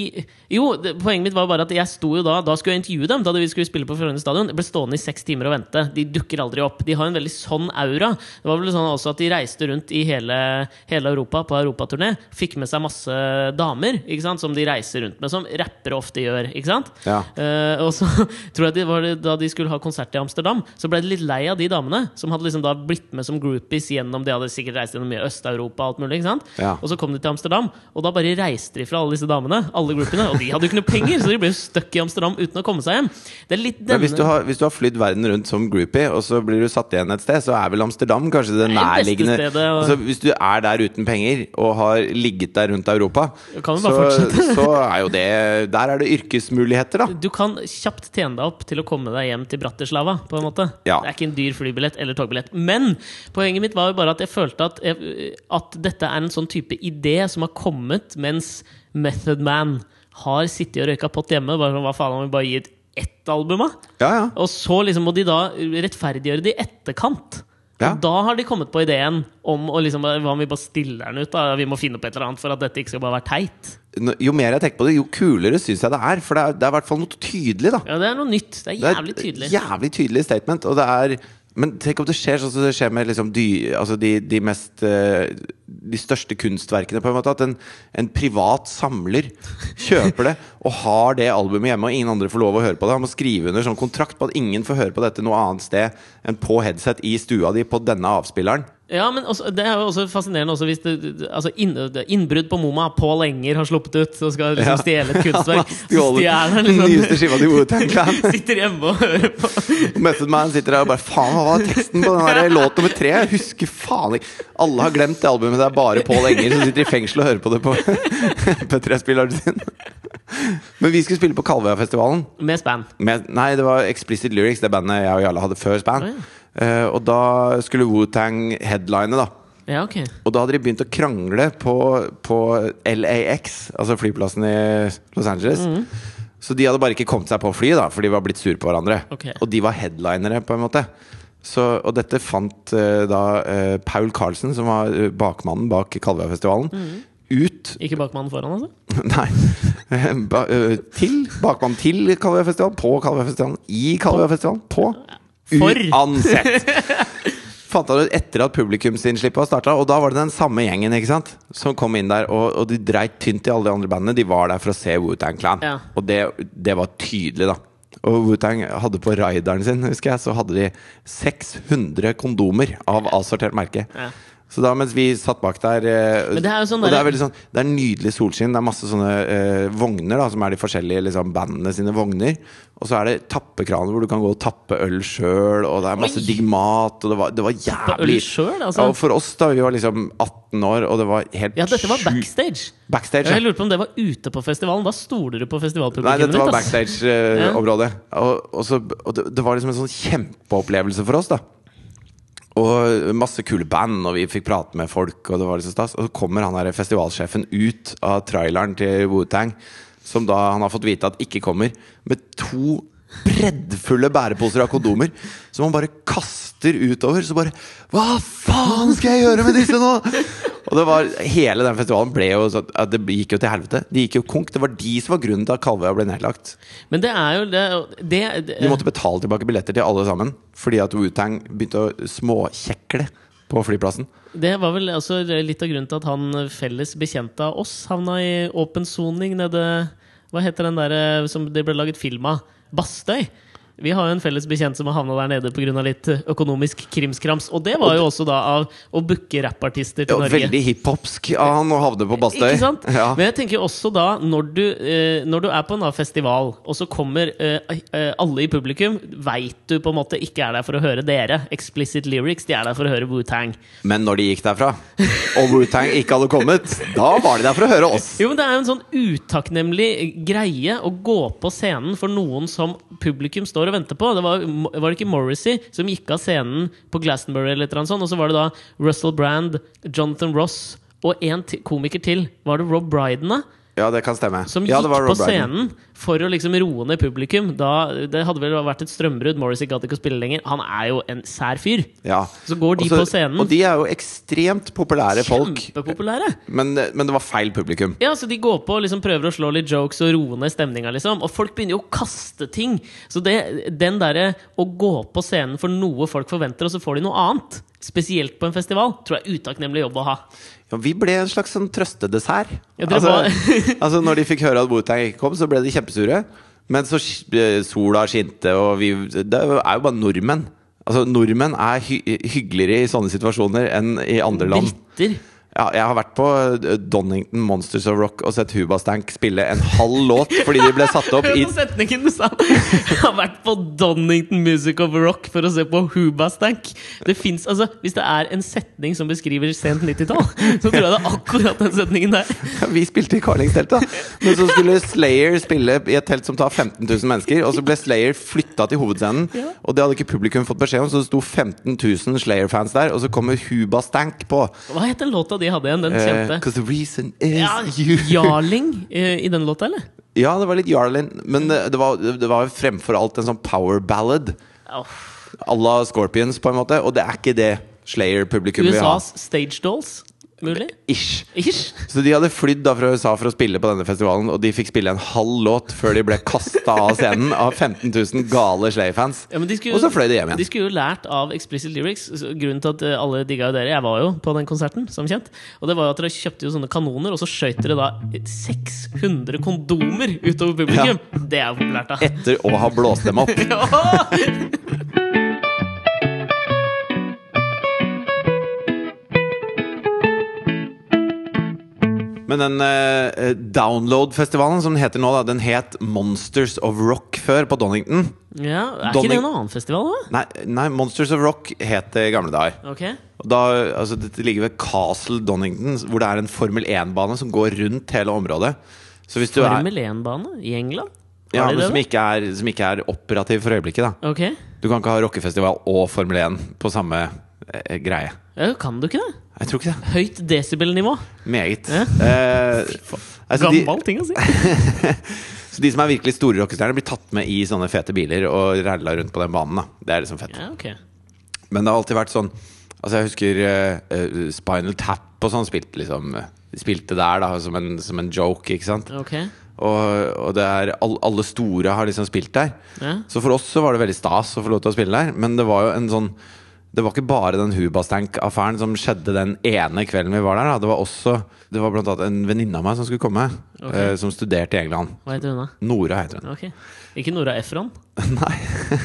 Speaker 2: Jo, det, poenget mitt var bare at jeg sto jo da Da skulle jeg intervjue dem, da vi skulle spille på Frogner stadion. Jeg ble stående i seks timer og vente. De dukker aldri opp. De har en veldig sånn aura. Det var vel sånn også at de reiste rundt i hele, hele Europa på europaturné. Fikk med seg masse damer, ikke sant, som de reiser rundt med, som rappere ofte gjør, ikke sant?
Speaker 1: Ja.
Speaker 2: Eh, og så tror jeg det var det, da de skulle ha konsert i Amsterdam, så ble de litt lei av de damene. Som hadde liksom da blitt med som groupies gjennom De hadde sikkert reist gjennom mye Øst-Europa. og alt mulig, ikke sant?
Speaker 1: Ja.
Speaker 2: Og så kom de til Amsterdam, og da bare reiste de fra alle disse damene. Alle groupiene, Og de hadde jo ikke noe penger, så de ble jo stuck i Amsterdam uten å komme seg hjem. Det er litt denne
Speaker 1: Men hvis du, har, hvis du har flydd verden rundt som groupie, og så blir du satt igjen et sted, så er vel Amsterdam kanskje
Speaker 2: Det er
Speaker 1: det
Speaker 2: det beste
Speaker 1: nærliggende
Speaker 2: stedet, og-
Speaker 1: altså, Hvis du er der uten penger, og har ligget der rundt Europa,
Speaker 2: Da kan vi
Speaker 1: så,
Speaker 2: bare fortsette.
Speaker 1: så er jo det Der er det yrkesmuligheter, da.
Speaker 2: Du kan kjapt tjene deg opp til å komme deg hjem til Bratislava. på en måte
Speaker 1: Ja.
Speaker 2: Det er ikke en dyr flybillett eller togbillett. Men poenget mitt var jo bare at jeg følte at, jeg, at dette er en sånn type idé som har kommet mens Method Man har sittet og røyka pott hjemme. Bare sånn, Hva faen om vi bare gir ut ett album, da?
Speaker 1: Ja, ja.
Speaker 2: Og så liksom må de da rettferdiggjøre det i etterkant.
Speaker 1: Ja.
Speaker 2: Og da har de kommet på ideen om å liksom, hva om vi bare stiller den ut? da Vi må finne opp et eller annet for at dette ikke skal bare være teit.
Speaker 1: Nå- Jo mer jeg tenker på det, jo kulere syns jeg det er. For det er, det er i hvert fall noe tydelig, da.
Speaker 2: Ja, Det er noe nytt. Det
Speaker 1: Det
Speaker 2: er
Speaker 1: er
Speaker 2: jævlig tydelig.
Speaker 1: Jævlig tydelig statement. Og det er men tenk om det skjer sånn som det skjer med liksom dy, altså de, de, mest, eh, de største kunstverkene. På en måte At en, en privat samler kjøper det og har det albumet hjemme, og ingen andre får lov å høre på det. Han må skrive under sånn kontrakt på at ingen får høre på dette noe annet sted enn på headset i stua di på denne avspilleren.
Speaker 2: Ja, men også, Det er jo også fascinerende også hvis det, det- altså inn, det- innbrudd på Moma. Pål Enger har sluppet ut og skal liksom stjele et kunstverk. Så
Speaker 1: Stjålet
Speaker 2: stjeler han
Speaker 1: den nyeste
Speaker 2: liksom
Speaker 1: skiva til Wu-Tang Clan.
Speaker 2: Sitter hjemme og hører på.
Speaker 1: Og Method Man sitter der og bare Faen, hva var teksten på den her låt nummer tre? Jeg husker faen ikke Alle har glemt det albumet men det er bare Pål Enger som sitter i fengsel og hører på det på P3-spilleren sin. Men vi skulle spille på Kalvøyafestivalen.
Speaker 2: Med span.
Speaker 1: Med, nei, det var Explicit Lyrics, det bandet jeg og Jarle hadde før
Speaker 2: Å,
Speaker 1: Span.
Speaker 2: ja.
Speaker 1: Eh, og da skulle Wu-Tang headline, da.
Speaker 2: Ja, ok.
Speaker 1: Og da hadde de begynt å krangle på, på LAX, altså flyplassen i Los Angeles. Så de hadde bare ikke kommet seg på flyet, da, for de var blitt sure på hverandre.
Speaker 2: Ok.
Speaker 1: Og de var headlinere, på en måte. Så, og dette fant eh, da eh, Paul Carlsen, som var eh, bakmannen bak Kalvøyafestivalen, ut
Speaker 2: Ikke bakmannen foran, altså?
Speaker 1: Nei. Eh, Ba, ø, til. Bakmann til Kalvøyafestivalen. På Kalvøyafestivalen. I Kalvøyafestivalen. På.
Speaker 2: For.
Speaker 1: Uansett! Fant han ut etter at publikumsinnslippet var starta. Og da var det den samme gjengen ikke sant? som kom inn der. Og, og de dreit tynt i alle de andre bandene. De var der for å se Wu-Tang Clan.
Speaker 2: Ja.
Speaker 1: Og det, det var tydelig, da. Og Wu-Tang hadde på rideren sin, husker jeg, så hadde de 600 kondomer av avsortert merke.
Speaker 2: Ja.
Speaker 1: Så da mens vi satt bak der eh,
Speaker 2: Men det er jo sånn
Speaker 1: Og det
Speaker 2: der-
Speaker 1: er veldig sånn, det er nydelig solskinn. Det er masse sånne eh, vogner, da som er de forskjellige liksom, bandene sine vogner. Og så er det tappekraner hvor du kan gå og tappe øl sjøl, og det er masse
Speaker 2: Oi!
Speaker 1: digg mat. Og det var, det var
Speaker 2: På
Speaker 1: jævlig
Speaker 2: øl sjøl,
Speaker 1: ja,
Speaker 2: altså?
Speaker 1: og For oss, da, vi var liksom 18 år, og det var helt
Speaker 2: Ja, dette var
Speaker 1: sjukt.
Speaker 2: backstage.
Speaker 1: backstage.
Speaker 2: Jeg
Speaker 1: Ja.
Speaker 2: lurte på om det var ute på festivalen. Da stoler du på
Speaker 1: Nei,
Speaker 2: festivalpublikummet
Speaker 1: dette var
Speaker 2: ass. Ja.
Speaker 1: backstage-området. Og, og, så- og det, det var liksom en sånn kjempeopplevelse for oss, da. Og masse kule band, og vi fikk prate med folk, og det var liksom stas. Og så kommer han her festivalsjefen ut av traileren til Wu-Tang, som da han har fått vite at ikke kommer, med to breddfulle bæreposer av kondomer, som han bare kaster utover. Så bare Hva faen skal jeg gjøre med disse nå?! Og det var, hele den festivalen ble jo sånn at Det gikk jo til helvete. De gikk jo konk. Det var de som var grunnen til at Kalvøya ble nedlagt.
Speaker 2: Men det er jo det, det, det
Speaker 1: De måtte betale tilbake billetter til alle sammen fordi at Wu-Tang begynte å småkjekle på flyplassen.
Speaker 2: Det var vel altså litt av grunnen til at han felles bekjente av oss havna i åpen soning nede Hva heter den der eh, som det ble laget film av? Bastøy. Vi har jo en felles bekjent som har havna der nede pga. litt økonomisk krimskrams. Og det var jo også da av å booke rappartister
Speaker 1: Ja,
Speaker 2: til Norge.
Speaker 1: veldig hiphopsk av han å havne på Bastøy.
Speaker 2: Ikke sant?
Speaker 1: Ja.
Speaker 2: Men jeg tenker også da, når du, eh, når du er på en da festival, og så kommer eh, eh, alle i publikum, veit du på en måte ikke er der for å høre dere. Explicit lyrics, de er der for å høre Wu-Tang.
Speaker 1: Men når de gikk derfra, og Wu-Tang ikke hadde kommet, da var de der for å høre oss.
Speaker 2: Jo, men Det er jo en sånn utakknemlig greie å gå på scenen for noen som publikum står og venter på. Det var, var det ikke Morrissey som gikk av scenen på Glastonbury, eller et eller annet sånt, og så var det da Russell Brand, Jonathan Ross og en ti- komiker til. Var det Rob Brydon, da?
Speaker 1: Ja, det kan stemme.
Speaker 2: Som
Speaker 1: ja, det
Speaker 2: gikk
Speaker 1: var
Speaker 2: på
Speaker 1: Rob Brydon.
Speaker 2: scenen for å liksom roe ned publikum. Da, det hadde vel vært et strømbrudd. Morrissey gadd ikke å spille lenger. Han er jo en sær fyr.
Speaker 1: Ja.
Speaker 2: Så går de
Speaker 1: Og så-
Speaker 2: på scenen.
Speaker 1: Og de er jo ekstremt populære folk.
Speaker 2: Kjempepopulære!
Speaker 1: Men, men det var feil publikum.
Speaker 2: Ja, så De går på og liksom prøver å slå litt jokes og roe ned stemninga. Liksom. Og folk begynner jo å kaste ting. Så det, den derre å gå på scenen for noe folk forventer, og så får de noe annet, spesielt på en festival, tror jeg er utakknemlig jobb å ha.
Speaker 1: Ja, vi ble en slags sånn trøstedessert.
Speaker 2: Ja, dere
Speaker 1: altså, altså, når de fikk høre at Wu-Tang ikke kom, så ble de kjempesure. Men så sk- eh, sola skinte, og vi Det er jo bare nordmenn. Altså, nordmenn er hy hyggeligere i sånne situasjoner enn i andre land.
Speaker 2: Dritter.
Speaker 1: Ja, jeg har vært på eh, Donington Monsters of Rock og sett Hubastank spille en halv låt fordi de ble satt opp
Speaker 2: Hør
Speaker 1: i
Speaker 2: på setningen du sa! Jeg har vært på Donington Music of Rock for å se på Hubastank. Det finnes, altså, hvis det er en setning som beskriver sent 90-tall, så tror jeg det er akkurat den setningen der.
Speaker 1: Vi spilte i Carlingteltet, men så skulle Slayer spille i et telt som tar 15 000 mennesker. Og så ble Slayer flytta til hovedscenen,
Speaker 2: Ja.
Speaker 1: og det hadde ikke publikum fått beskjed om, så det sto 15 000 Slayer-fans der, og så kommer Hubastank på.
Speaker 2: Hva het den låta de hadde igjen? Den
Speaker 1: Eh,
Speaker 2: kjente?
Speaker 1: Cause the reason is
Speaker 2: Ja,
Speaker 1: you.
Speaker 2: Jarling eh, i den låta, eller?
Speaker 1: Ja, det var litt Jarlin, men det det var, det var jo fremfor alt en sånn power ballad
Speaker 2: Åh.
Speaker 1: à la Scorpions, på en måte, og det er ikke det Slayer-publikum vil ha.
Speaker 2: USAs Stage Dolls, mulig?
Speaker 1: Ish.
Speaker 2: Ish.
Speaker 1: Så de hadde flydd da fra USA for å spille på denne festivalen, og de fikk spille en halv låt før de ble kasta av scenen av 15 000 gale Slay-fans.
Speaker 2: Ja, men de skulle,
Speaker 1: Og så fløy de hjem
Speaker 2: De
Speaker 1: igjen.
Speaker 2: skulle jo lært av Explicit Lyrics. så Grunnen til at eh, alle digga jo dere. Jeg var jo på den konserten, som kjent. Og det var jo at dere kjøpte jo sånne kanoner, og så skjøt dere da 600 kondomer utover publikum! Det er jo populært, da.
Speaker 1: Etter å ha blåst dem opp. Men den eh, Download-festivalen som den heter nå, da, den het Monsters of Rock før på Donington.
Speaker 2: Ja, Er
Speaker 1: Donning-
Speaker 2: ikke det en annen festival, da?
Speaker 1: Nei, nei, Monsters of Rock het det i gamle dager.
Speaker 2: Ok
Speaker 1: Og da, altså, dette ligger ved Castle Donington, hvor det er en Formel 1-bane som går rundt hele området. Så hvis du er,
Speaker 2: Formel 1-bane i England? Har
Speaker 1: ja,
Speaker 2: de
Speaker 1: men
Speaker 2: det,
Speaker 1: som,
Speaker 2: da?
Speaker 1: ikke er, som ikke er operativ for øyeblikket, da.
Speaker 2: Ok
Speaker 1: Du kan ikke ha rockefestival og Formel 1 på samme eh, greie.
Speaker 2: ja, Kan du ikke det?
Speaker 1: Jeg tror ikke det.
Speaker 2: Høyt desibelnivå.
Speaker 1: Meget.
Speaker 2: Ja.
Speaker 1: Eh, altså, de,
Speaker 2: Gammel ting å si.
Speaker 1: så de som er virkelig store rockestjerner, blir tatt med i sånne fete biler og ræla rundt på den banen. da Det er liksom fett.
Speaker 2: Ja, ok
Speaker 1: Men det har alltid vært sånn Altså jeg husker eh, eh, Spinal Tap og sånn spilte liksom eh, de Spilte der da som en, som en joke, ikke sant?
Speaker 2: Ok
Speaker 1: Og, og det er all, alle store har liksom spilt der.
Speaker 2: ja.
Speaker 1: Så for oss så var det veldig stas å få lov til å spille der, men det var jo en sånn det var ikke bare den Hubastank-affæren som skjedde den ene kvelden vi var der. Da. Det var også Det var blant annet en venninne av meg som skulle komme,
Speaker 2: Ok.
Speaker 1: eh, som studerte i England.
Speaker 2: Hva heter hun, da?
Speaker 1: Nora heter hun.
Speaker 2: Ok Ikke Nora Efron?
Speaker 1: Nei.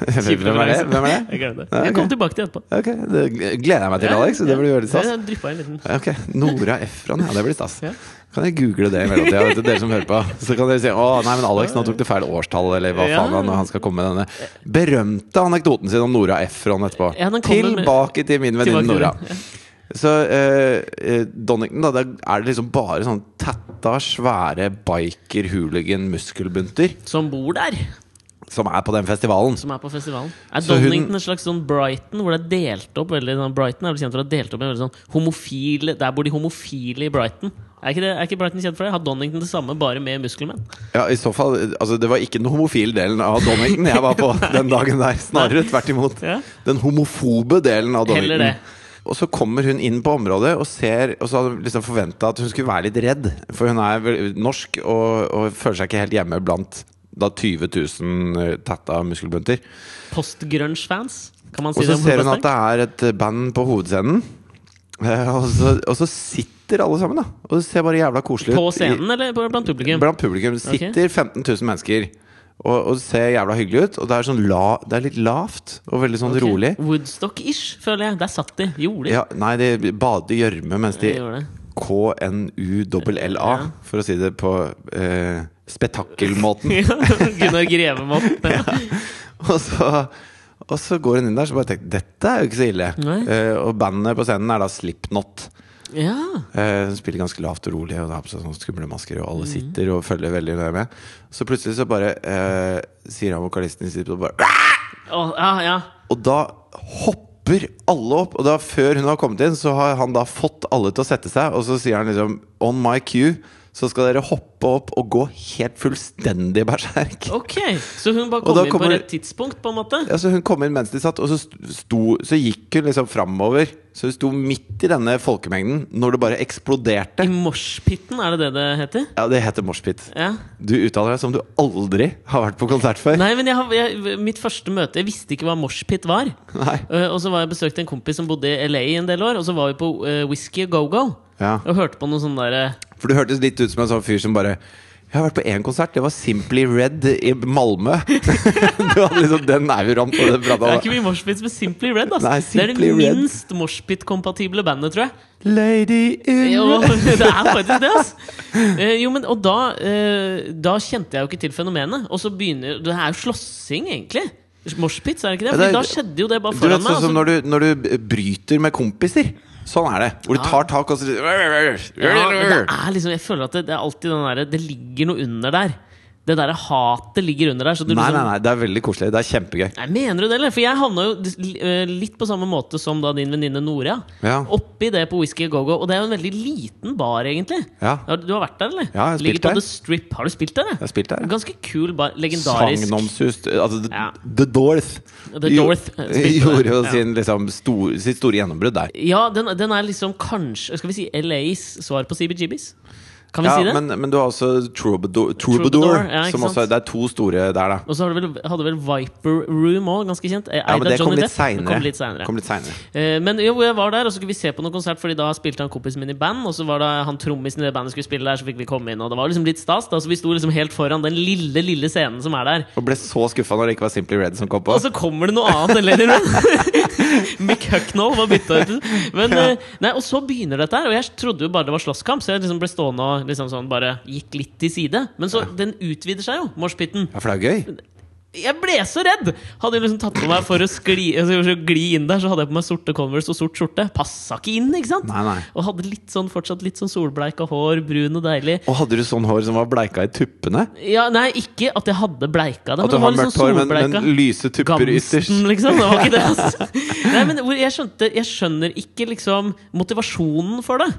Speaker 1: Hvem er det? Hvem er det?
Speaker 2: Jeg glemte det.
Speaker 1: Ja,
Speaker 2: Jeg
Speaker 1: ok.
Speaker 2: kommer tilbake til etterpå.
Speaker 1: Ok, det gleder jeg meg til, Alex. Det blir veldig stas.
Speaker 2: Jeg dryppa en liten
Speaker 1: Ok, Nora Efron, ja det blir stas.
Speaker 2: Ja.
Speaker 1: Kan jeg google det i mellomtida? vet du, Dere som hører på. Så kan dere si å nei, men Alex nå tok du feil årstall, eller hva
Speaker 2: Ja.
Speaker 1: faen han, han skal komme med denne berømte anekdoten sin om Nora Efron etterpå.
Speaker 2: Ja, den kommer med-
Speaker 1: Tilbake til min
Speaker 2: tilbake
Speaker 1: venninne
Speaker 2: til
Speaker 1: Nora.
Speaker 2: den.
Speaker 1: Så eh, eh, Donington, da, der er det liksom bare sånn tatta, svære biker-hooligan-muskelbunter
Speaker 2: Som bor der,
Speaker 1: som er på den festivalen.
Speaker 2: som er på festivalen. Er
Speaker 1: Så hun-
Speaker 2: Donington en slags sånn Brighton, hvor det er delt opp veldig sånn- Brighton er vel kjent for å ha delt opp i en veldig sånn homofile Der bor de homofile i Brighton. Er ikke, det, er ikke Brighton kjent for det? Har Donington det samme, bare med muskelmenn?
Speaker 1: Ja, i så fall, eh, altså Det var ikke den homofile delen av Donington jeg var på den dagen der. Snarere tvert imot.
Speaker 2: Ja.
Speaker 1: Den homofobe delen av
Speaker 2: Heller
Speaker 1: Donington.
Speaker 2: det.
Speaker 1: Og så kommer hun inn på området og ser Og så hadde hun liksom forventa at hun skulle være litt redd. For hun er vel norsk og, og føler seg ikke helt hjemme blant da 20 000 tatta muskelbunter.
Speaker 2: Postgrunge-fans, kan man si
Speaker 1: Og så
Speaker 2: det? om
Speaker 1: ser hun
Speaker 2: fotballspillere?
Speaker 1: at det er et eh, band på hovedscenen. Eh, Og så, og så sitter alle sammen, da. Og det ser bare jævla koselig ut.
Speaker 2: På
Speaker 1: i-
Speaker 2: scenen eller på- blant publikum?
Speaker 1: Blant publikum sitter 15 000 mennesker og, og ser jævla hyggelig ut. Og det er, sånn la, det er litt lavt og veldig sånn
Speaker 2: Ok.
Speaker 1: rolig.
Speaker 2: Woodstock-ish, føler jeg. Der satt de. Gjorde de?
Speaker 1: Ja, nei, de bader i gjørme mens de
Speaker 2: de gjorde det.
Speaker 1: KNULLA,
Speaker 2: Ja.
Speaker 1: for å si det på eh, spetakkelmåten.
Speaker 2: Ja, Gunnar Greve-måten. Ja.
Speaker 1: og, så, og så går hun inn der så bare tenker dette er jo ikke så ille.
Speaker 2: Nei.
Speaker 1: Eh, og bandet på scenen er da Slipknot.
Speaker 2: Ja.
Speaker 1: Eh, Hun spiller ganske lavt og rolig, og det har på seg sånne skumle masker, og
Speaker 2: Mhm.
Speaker 1: alle sitter og følger veldig nøye med. Så plutselig så bare eh, sier han vokalisten i Slipknot bare
Speaker 2: Å, ja, ja.
Speaker 1: Og da hopper alle opp. Og da før hun har kommet inn, så har han da fått alle til å sette seg. Og så sier han liksom On my cue, så skal dere hoppe opp og gå helt fullstendig berserk.
Speaker 2: Ok, så hun bare
Speaker 1: Og
Speaker 2: kom
Speaker 1: da
Speaker 2: inn
Speaker 1: kommer-
Speaker 2: på rett tidspunkt, på en måte?
Speaker 1: Ja, så hun kom inn mens de satt, og så, sto, så gikk hun liksom framover. Så hun sto midt i denne folkemengden når det bare eksploderte.
Speaker 2: I moshpiten, er det det det heter?
Speaker 1: Ja, det heter moshpit.
Speaker 2: Ja.
Speaker 1: Du uttaler deg som du aldri har vært på konsert før.
Speaker 2: Nei, men jeg, har- jeg, mitt første møte Jeg visste ikke hva moshpit var.
Speaker 1: Nei.
Speaker 2: Eh, og så var jeg besøkte en kompis som bodde i LA i en del år, og så var vi på eh, Whisky Go-Go.
Speaker 1: Ja.
Speaker 2: Og hørte på noe sånn derre
Speaker 1: For du hørtes litt ut som en sånn fyr som bare Jeg har vært på én konsert, det var Simply Red i Malmø. du hadde liksom den auran på den
Speaker 2: Det
Speaker 1: prata.
Speaker 2: er ikke mye moshpits med Simply Red. ass.
Speaker 1: Nei,
Speaker 2: det
Speaker 1: Simply
Speaker 2: er
Speaker 1: Red.
Speaker 2: det minst moshpit-kompatible bandet, tror jeg.
Speaker 1: Lady in
Speaker 2: Jo,
Speaker 1: red.
Speaker 2: det er faktisk det, altså. Eh, jo, men, og da, eh, da kjente jeg jo ikke til fenomenet. Og så begynner Det er jo slåssing, egentlig. Moshpits, er det ikke det?
Speaker 1: Ja,
Speaker 2: Fordi
Speaker 1: det er-
Speaker 2: da skjedde jo det bare
Speaker 1: Du
Speaker 2: foran
Speaker 1: vet
Speaker 2: meg. altså. og
Speaker 1: sånn
Speaker 2: så-
Speaker 1: som når du, når du bryter med kompiser. Sånn er det. Hvor du tar tak og så
Speaker 2: ja, men det er liksom, jeg føler at det, det er alltid den derre Det ligger noe under der. Det derre hatet ligger under der. Så du
Speaker 1: Nei,
Speaker 2: liksom,
Speaker 1: nei, nei. Det er veldig koselig. Det er kjempegøy.
Speaker 2: Nei, Mener du det, eller? For jeg havna jo eh, litt på samme måte som da din venninne Nora.
Speaker 1: Ja.
Speaker 2: Oppi det på Whisky Go-Go. Og det er jo en veldig liten bar, egentlig.
Speaker 1: Ja.
Speaker 2: Har- Du har vært der, eller?
Speaker 1: Ja, jeg har spilt
Speaker 2: Ligger på
Speaker 1: der.
Speaker 2: The Strip. Har du spilt der?
Speaker 1: Jeg har spilt der, ja.
Speaker 2: Ganske kul bar. Legendarisk.
Speaker 1: Sagnomsust Altså The,
Speaker 2: Ja.
Speaker 1: the Dorth.
Speaker 2: The Dorth,
Speaker 1: Jo-
Speaker 2: spilte det.
Speaker 1: Gjorde jo
Speaker 2: Ja.
Speaker 1: sin, liksom, stor, sitt store gjennombrudd der.
Speaker 2: Ja, den, den er liksom kanskje Skal vi si LAs svar på CBGBs? Kan vi
Speaker 1: Ja,
Speaker 2: si det?
Speaker 1: men, men du har også Troubadour, Troubadour,
Speaker 2: Troubadour, ja, ikke
Speaker 1: som også,
Speaker 2: sant?
Speaker 1: Det er to store der, da.
Speaker 2: Og så hadde vel, hadde vel Viper Room òg, ganske kjent. Eh,
Speaker 1: Ja,
Speaker 2: eid
Speaker 1: men
Speaker 2: av
Speaker 1: det kom
Speaker 2: Johnny
Speaker 1: litt
Speaker 2: Depp. Det
Speaker 1: seinere.
Speaker 2: Kom litt senere.
Speaker 1: Kom litt senere.
Speaker 2: Eh, Men jo, jeg var der, og så skulle vi se på noen konsert, Fordi da spilte han kompisen min i band. Og så var det han trommisen i det bandet skulle spille der, så fikk vi komme inn. Og det var liksom litt stas. Da, så vi sto liksom helt foran den lille, lille scenen som er der.
Speaker 1: Og ble så skuffa når det ikke var Simply Red som kom på.
Speaker 2: Og så kommer det noe annet enn Lady Red. Mick Hucknall var bytta ut. Men, eh, nei, og så begynner dette her. Og jeg trodde jo bare det var slåsskamp, så jeg liksom ble stående og liksom sånn bare gikk litt til side. Men så den utvider seg jo, moshpiten.
Speaker 1: ja, for det er jo gøy.
Speaker 2: Jeg ble så redd! Hadde jeg liksom tatt på meg for å skli, altså, for å gli inn der, så hadde jeg på meg sorte Converse og sort skjorte. Passa ikke inn, ikke sant?
Speaker 1: Nei, nei.
Speaker 2: Og hadde litt sånn, fortsatt litt sånn solbleika hår, brun og deilig.
Speaker 1: Og hadde du sånn hår som var bleika i tuppene?
Speaker 2: Ja, Nei, ikke at jeg hadde bleika det,
Speaker 1: At du
Speaker 2: det
Speaker 1: har
Speaker 2: var litt
Speaker 1: mørkt
Speaker 2: sånn
Speaker 1: hår, men,
Speaker 2: solbleika.
Speaker 1: men lyse tupper
Speaker 2: Gamsten,
Speaker 1: ytterst?
Speaker 2: liksom. Det var ikke det. Altså. Nei, men hvor- jeg, skjønte, jeg skjønner ikke liksom motivasjonen for det.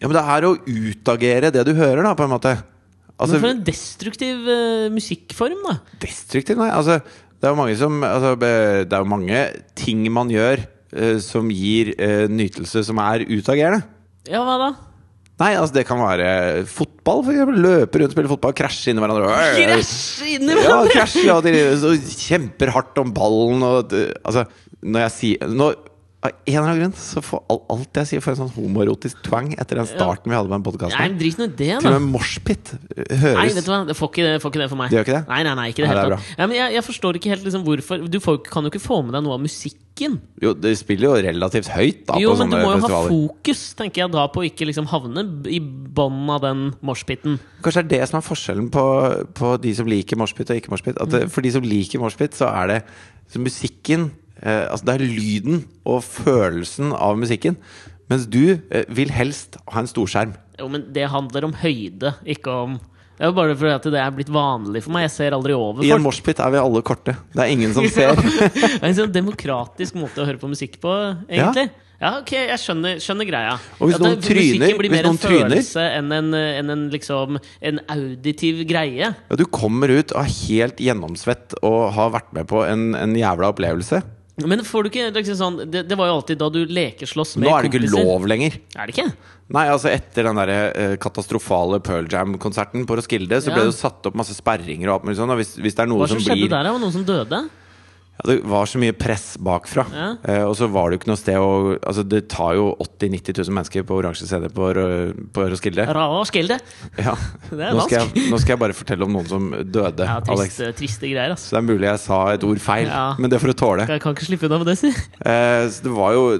Speaker 1: Ja, men det er å utagere det du hører, da, på en måte.
Speaker 2: Men for
Speaker 1: Altså,
Speaker 2: en destruktiv eh, musikkform, da.
Speaker 1: destruktiv, nei. Altså, det er jo mange som altså, be- Det er jo mange ting man gjør eh, som gir eh, nytelse som er utagerende.
Speaker 2: Ja, hva da?
Speaker 1: Nei, altså det kan være fotball, for eksempel. Løpe rundt, spille fotball, krasje inn i hverandre.
Speaker 2: Krasj inni
Speaker 1: Ja,
Speaker 2: hverandre!
Speaker 1: krasje, ja, de så kjemper hardt om ballen og det- Altså, når jeg sier nå, Av en eller annen grunn så får all- alt jeg sier, får en sånn homoerotisk twang etter den starten vi hadde med den
Speaker 2: Nei,
Speaker 1: podkasten.
Speaker 2: men drit nå i det,
Speaker 1: Til
Speaker 2: da.
Speaker 1: og med moshpit
Speaker 2: Nei, vet
Speaker 1: høres
Speaker 2: du hva? Det får ikke det, får ikke det for meg.
Speaker 1: Det gjør ikke det?
Speaker 2: Nei, nei, nei, ikke det
Speaker 1: Nei, det
Speaker 2: helt
Speaker 1: er
Speaker 2: tatt. Nei, men jeg, jeg forstår ikke helt liksom hvorfor Du får, jo ikke- kan jo ikke få med deg noe av musikken.
Speaker 1: Jo, det spiller jo relativt høyt, da,
Speaker 2: Jo,
Speaker 1: på
Speaker 2: men du
Speaker 1: sånne
Speaker 2: må jo ha
Speaker 1: festivaler.
Speaker 2: fokus, tenker jeg da, på å ikke liksom havne b- i bånn av den moshpiten.
Speaker 1: Kanskje det er det som er forskjellen på, på de som liker moshpit og ikke moshpit. At det,
Speaker 2: Mm.
Speaker 1: For de som liker moshpit, så er det så musikken eh, Altså det er lyden og følelsen av musikken. Mens du eh, vil helst ha en storskjerm.
Speaker 2: Jo, men det handler om høyde, ikke om Det er jo bare fordi at det er blitt vanlig for meg. Jeg ser aldri over
Speaker 1: I en
Speaker 2: folk.
Speaker 1: moshpit er vi alle korte. Det er ingen som ser.
Speaker 2: Det er en sånn demokratisk måte å høre på musikk på, egentlig. Ja, ok, jeg skjønner, skjønner greia.
Speaker 1: Og hvis
Speaker 2: At det-
Speaker 1: noen tryner-
Speaker 2: musikken blir
Speaker 1: hvis
Speaker 2: mer en
Speaker 1: noen tryner-
Speaker 2: følelse enn en, eh, enn en liksom en auditiv greie.
Speaker 1: Ja, du kommer ut av helt gjennomsvett og har vært med på en, en jævla opplevelse.
Speaker 2: Men får du ikke liksom sånn Det, det var jo alltid da du lekeslåss med
Speaker 1: Nå er det ikke
Speaker 2: kompiser.
Speaker 1: lov lenger.
Speaker 2: Er det ikke?
Speaker 1: Nei, altså etter den der, eh, katastrofale Pearl Jam-konserten på Roskilde, så
Speaker 2: Ja.
Speaker 1: ble det jo satt opp masse sperringer og alt mulig sånn. Og hvis, hvis det er noe
Speaker 2: Hva som
Speaker 1: som
Speaker 2: skjedde
Speaker 1: blir
Speaker 2: der? da? Var det noen som døde?
Speaker 1: ja, Altså, Det var så mye press bakfra.
Speaker 2: Ja.
Speaker 1: Eh, og så var det jo ikke noe sted å Altså, det tar jo 80 000-90 000 mennesker på oransje CD på, Ro- på Roskilde.
Speaker 2: Rao Skelde.
Speaker 1: Ja.
Speaker 2: Det er
Speaker 1: Nå skal,
Speaker 2: vanskelig.
Speaker 1: jeg, nå skal jeg bare fortelle om noen som døde,
Speaker 2: Ja,
Speaker 1: Alex.
Speaker 2: triste, triste greier, altså.
Speaker 1: Så det er mulig jeg sa et ord feil,
Speaker 2: Ja.
Speaker 1: men det får du tåle.
Speaker 2: Jeg kan ikke slippe unna med det, si.
Speaker 1: Eh, så det var jo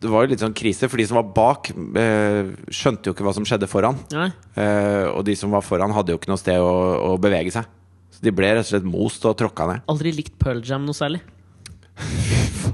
Speaker 1: det var jo litt sånn krise, for de som var bak, eh, skjønte jo ikke hva som skjedde foran.
Speaker 2: Nei.
Speaker 1: Eh, og de som var foran, hadde jo ikke noe sted å, å bevege seg. Så de ble rett og slett most og tråkka ned.
Speaker 2: Aldri likt Pearl Jam noe særlig.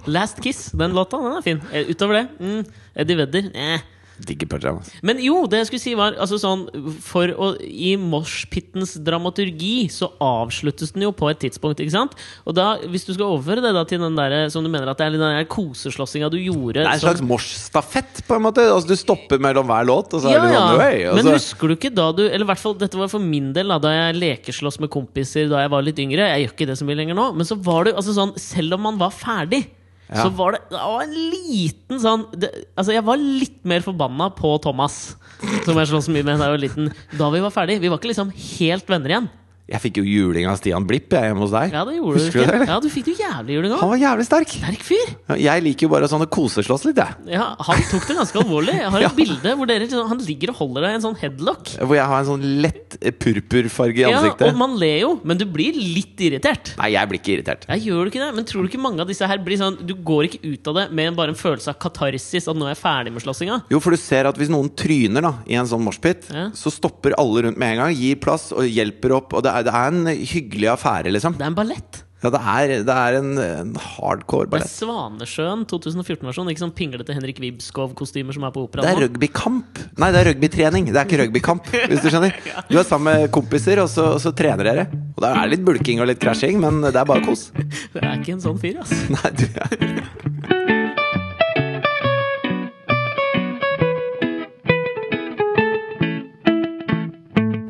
Speaker 2: Last Kiss, den låta, den er fin. Eh, Utover det, mm, Eddie Vedder eh.
Speaker 1: Digger Pearl Jam. ass.
Speaker 2: Men jo, det jeg skulle si, var altså sånn for å, I moshpittens dramaturgi så avsluttes den jo på et tidspunkt, ikke sant? Og da, hvis du skal overføre det da til den der eh, som du mener at det er den der koseslåssinga du gjorde
Speaker 1: Det er en
Speaker 2: som-
Speaker 1: slags morsstafett, på en måte. Altså, du stopper mellom hver låt, og så er
Speaker 2: ja,
Speaker 1: det
Speaker 2: ja.
Speaker 1: sånn «Oi», og
Speaker 2: Men
Speaker 1: så-
Speaker 2: husker du ikke da du Eller i hvert fall, dette var for min del da, da jeg lekeslåss med kompiser da jeg var litt yngre. Jeg gjør ikke det så mye lenger nå. Men så var det altså sånn Selv om man var ferdig,
Speaker 1: Ja.
Speaker 2: så var det, det var en liten sånn det, Altså, jeg var litt mer forbanna på Thomas, som jeg slåss mye med da jeg var liten. Da vi var ferdig. Vi var ikke liksom helt venner igjen.
Speaker 1: Jeg fikk jo juling av Stian Blipp jeg, hjemme hos deg.
Speaker 2: Ja, det gjorde du
Speaker 1: Husker du det,
Speaker 2: ikke.
Speaker 1: eller?
Speaker 2: Ja, du fikk det jo jævlig juling òg.
Speaker 1: Han var jævlig sterk.
Speaker 2: Sterk fyr.
Speaker 1: Ja, Jeg liker jo bare sånne koseslåss litt, jeg.
Speaker 2: Ja, han tok det ganske alvorlig. Jeg har et
Speaker 1: Ja.
Speaker 2: bilde hvor dere, liksom- han ligger og holder deg i en sånn headlock.
Speaker 1: Hvor jeg har en sånn lett eh, purpurfarge
Speaker 2: Ja,
Speaker 1: i
Speaker 2: og
Speaker 1: ansiktet.
Speaker 2: man ler jo, men du blir litt irritert.
Speaker 1: Nei, jeg blir ikke irritert.
Speaker 2: Jeg gjør du ikke det, men tror du ikke mange av disse her blir sånn Du går ikke ut av det med en- bare en følelse av katarsis, at nå er jeg ferdig med slåssinga?
Speaker 1: Jo, for du ser at hvis noen tryner da i en sånn moshpit,
Speaker 2: Ja.
Speaker 1: så stopper alle rundt med en gang, gir plass og hjelper opp. Og det er, det er en hyggelig affære, liksom.
Speaker 2: Det er en ballett.
Speaker 1: Ja, det er, det er en, en hardcore
Speaker 2: Det er
Speaker 1: ballett.
Speaker 2: Svanesjøen 2014-versjon, ikke sånn pinglete Henrik Wibskov-kostymer som er på
Speaker 1: Det er
Speaker 2: operaen nå.
Speaker 1: rugbykamp. Nei, det er rugbytrening. Det er ikke rugbykamp, hvis du skjønner. Du er sammen med kompiser, og så, og så trener dere. Og det er litt bulking og litt krasjing, men det er bare kos.
Speaker 2: Det er ikke en sånn fyr, ass.
Speaker 1: Nei, du er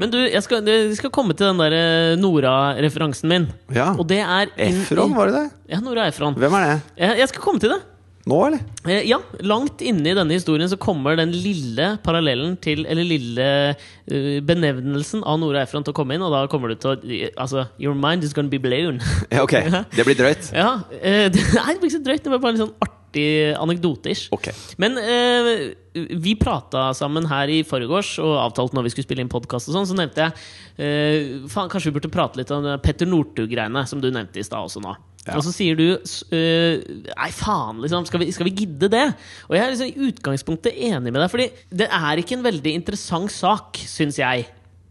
Speaker 2: Men du, jeg skal, jeg skal komme til den der eh, Nora-referansen min.
Speaker 1: Ja.
Speaker 2: Og det er inn i-
Speaker 1: Efron, var det det?
Speaker 2: Ja, Nora Efron.
Speaker 1: Hvem er det?
Speaker 2: Jeg jeg skal komme til det.
Speaker 1: Nå, eller?
Speaker 2: Eh, Ja, langt inne i denne historien så kommer den lille parallellen til Eller lille eh, benevnelsen av Nora Efron til å komme inn, og da kommer du til å Altså, your mind is gonna be blown.
Speaker 1: Ja, ok. Det blir drøyt.
Speaker 2: ja, eh, det er ikke så drøyt, det var bare en litt sånn artig anekdote-ish.
Speaker 1: Ok.
Speaker 2: Men eh, vi prata sammen her i forgårs og avtalte når vi skulle spille inn podkast, sånn, så nevnte jeg eh, faen, Kanskje vi burde prate litt om det Petter Northug-greiene, som du nevnte i stad også nå.
Speaker 1: Ja.
Speaker 2: Og så sier du s- eh, Nei, faen, liksom. Skal vi, skal vi gidde det? Og jeg er liksom i utgangspunktet enig med deg, Fordi det er ikke en veldig interessant sak, syns jeg.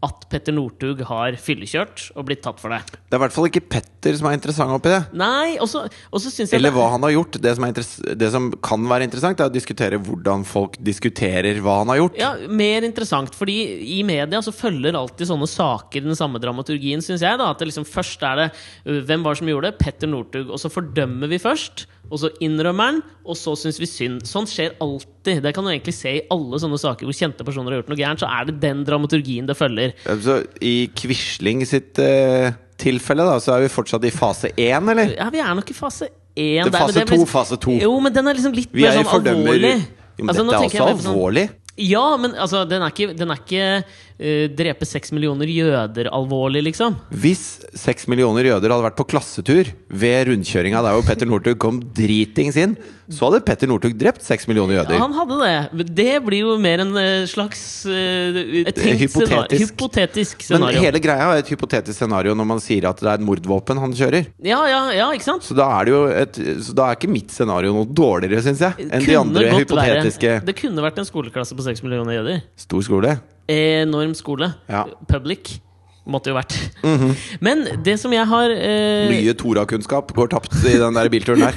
Speaker 2: at Petter Northug har fyllekjørt og blitt tatt for det.
Speaker 1: Det er i hvert fall ikke Petter som er interessant oppi det.
Speaker 2: Nei, og så og så syns jeg
Speaker 1: Eller hva han har gjort. Det som, er interess- det som kan være interessant, er å diskutere hvordan folk diskuterer hva han har gjort.
Speaker 2: Ja, mer interessant, fordi i media så følger alltid sånne saker den samme dramaturgien, syns jeg. da At det liksom først er det øh, Hvem var det som gjorde det? Petter Northug. Og så fordømmer vi først, og så innrømmer han, og så syns vi synd. Sånt skjer alltid. Det kan du egentlig se i alle sånne saker hvor kjente personer har gjort noe gærent, så er det den dramaturgien det følger.
Speaker 1: Så I Quisling sitt eh, tilfelle, da, så er vi fortsatt i fase én, eller?
Speaker 2: Ja, vi er nok i fase én
Speaker 1: Det er
Speaker 2: der, men
Speaker 1: fase
Speaker 2: vel
Speaker 1: to,
Speaker 2: liksom-
Speaker 1: fase to.
Speaker 2: Jo, men den er liksom litt
Speaker 1: Vi
Speaker 2: mer
Speaker 1: er i
Speaker 2: sånn
Speaker 1: fordømmer
Speaker 2: alvorlig.
Speaker 1: Jo, men
Speaker 2: Altså, nå
Speaker 1: Dette er
Speaker 2: tenker jeg
Speaker 1: også
Speaker 2: mer på sånn-
Speaker 1: alvorlig.
Speaker 2: Ja, men altså, den er ikke, den er ikke eh, drepe seks millioner jøder alvorlig, liksom.
Speaker 1: Hvis seks millioner jøder hadde vært på klassetur ved rundkjøringa der hvor Petter Northug kom dritings inn, så hadde Petter Northug drept seks millioner jøder.
Speaker 2: Han hadde det. Det blir jo mer en eh, slags eh, et tenkt
Speaker 1: Hypotetisk.
Speaker 2: scenario. hypotetisk
Speaker 1: Men
Speaker 2: scenario.
Speaker 1: hele greia er et hypotetisk scenario når man sier at det er et mordvåpen han kjører.
Speaker 2: Ja, ja, ja, ikke sant?
Speaker 1: Så da er, det jo et, så da er ikke mitt scenario noe dårligere, syns jeg, enn de
Speaker 2: Kunne
Speaker 1: andre
Speaker 2: godt være-
Speaker 1: hypotetiske.
Speaker 2: Det kunne vært en skoleklasse på seks millioner jøder.
Speaker 1: Stor skole.
Speaker 2: Enorm skole.
Speaker 1: Ja. Mhm.
Speaker 2: Public. Måtte jo vært. Men det som jeg har eh,
Speaker 1: Mye Torah-kunnskap går tapt i den der bilturen der.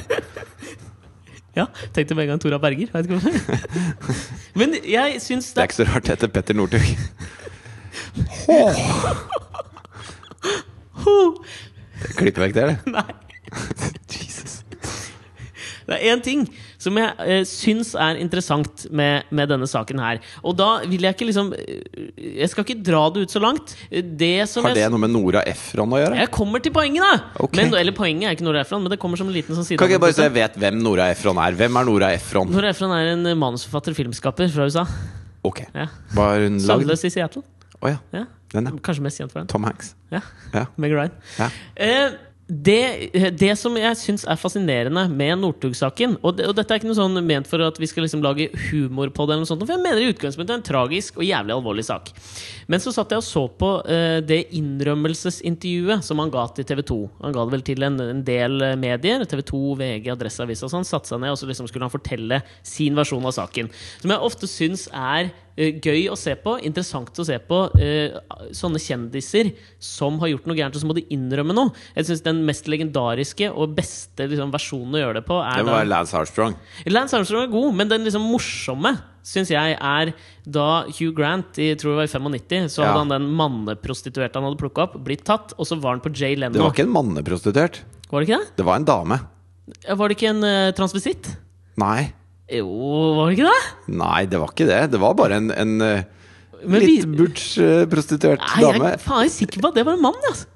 Speaker 2: Ja, tenkte med en gang Tora Berger. Vet ikke hvorfor. Men jeg syns
Speaker 1: Det
Speaker 2: det
Speaker 1: er ikke så rart etter Petter Northug. Klipp vekk det, eller?
Speaker 2: Nei.
Speaker 1: Jesus.
Speaker 2: Det er én ting som jeg eh, syns er interessant med, med denne saken her. Og da vil jeg ikke liksom eh, Jeg skal ikke dra det ut så langt. Eh, Det som
Speaker 1: Har det
Speaker 2: jeg,
Speaker 1: noe med Nora Efron å gjøre?
Speaker 2: jeg kommer til poenget, da!
Speaker 1: Ok.
Speaker 2: Men, eller poenget er ikke Nora Efron, men det kommer som en liten sånn side.
Speaker 1: Kan ikke jeg bare så jeg vet hvem Nora Efron er? Hvem er Nora Efron?
Speaker 2: Nora Efron er en eh, manusforfatter, filmskaper fra USA.
Speaker 1: Ok.
Speaker 2: Ja.
Speaker 1: Var hun lagd?
Speaker 2: Søvnløs i Seattle.
Speaker 1: Å ja.
Speaker 2: Ja.
Speaker 1: Den, ja.
Speaker 2: Kanskje mest kjent for den.
Speaker 1: Tom Hanks.
Speaker 2: Ja.
Speaker 1: Ja.
Speaker 2: Meg Ryan.
Speaker 1: ja.
Speaker 2: Eh, det, det som jeg syns er fascinerende med Northug-saken og, det- og dette er ikke noe sånn ment for at vi skal liksom lage humor på det, eller noe sånt, for jeg mener i utgangspunktet det er en tragisk og jævlig alvorlig sak. Men så satt jeg og så på eh, det innrømmelsesintervjuet som han ga til TV 2. Han ga det vel til en, en del eh, medier. TV 2, VG, Adresseavisa og sånn. Satte seg ned, og så liksom skulle han fortelle sin versjon av saken. Som jeg ofte syns er eh, gøy å se på, interessant å se på eh, sånne kjendiser som har gjort noe gærent, og så må de innrømme noe. Jeg synes Den mest legendariske og beste liksom, versjonen å gjøre det på
Speaker 1: Det
Speaker 2: er
Speaker 1: må
Speaker 2: da
Speaker 1: være Lance Armstrong.
Speaker 2: Lance Armstrong er god, men den liksom morsomme syns jeg er da Hugh Grant i tror jeg var i 95, så
Speaker 1: Ja.
Speaker 2: hadde han den manneprostituerte han hadde plukka opp, blitt tatt, og så var han på Jay
Speaker 1: Det
Speaker 2: Leno.
Speaker 1: var ikke en manneprostituert.
Speaker 2: Var det ikke det?
Speaker 1: Det var en dame.
Speaker 2: Ja, Var det ikke en eh, transvisitt?
Speaker 1: Nei.
Speaker 2: Jo, var det ikke det?
Speaker 1: Nei, det var ikke det. Det var bare en, en eh,
Speaker 2: Men
Speaker 1: litt
Speaker 2: vi-
Speaker 1: butch-prostituert
Speaker 2: Nei, jeg
Speaker 1: dame.
Speaker 2: er faen jeg er sikker på at det var en mann, altså.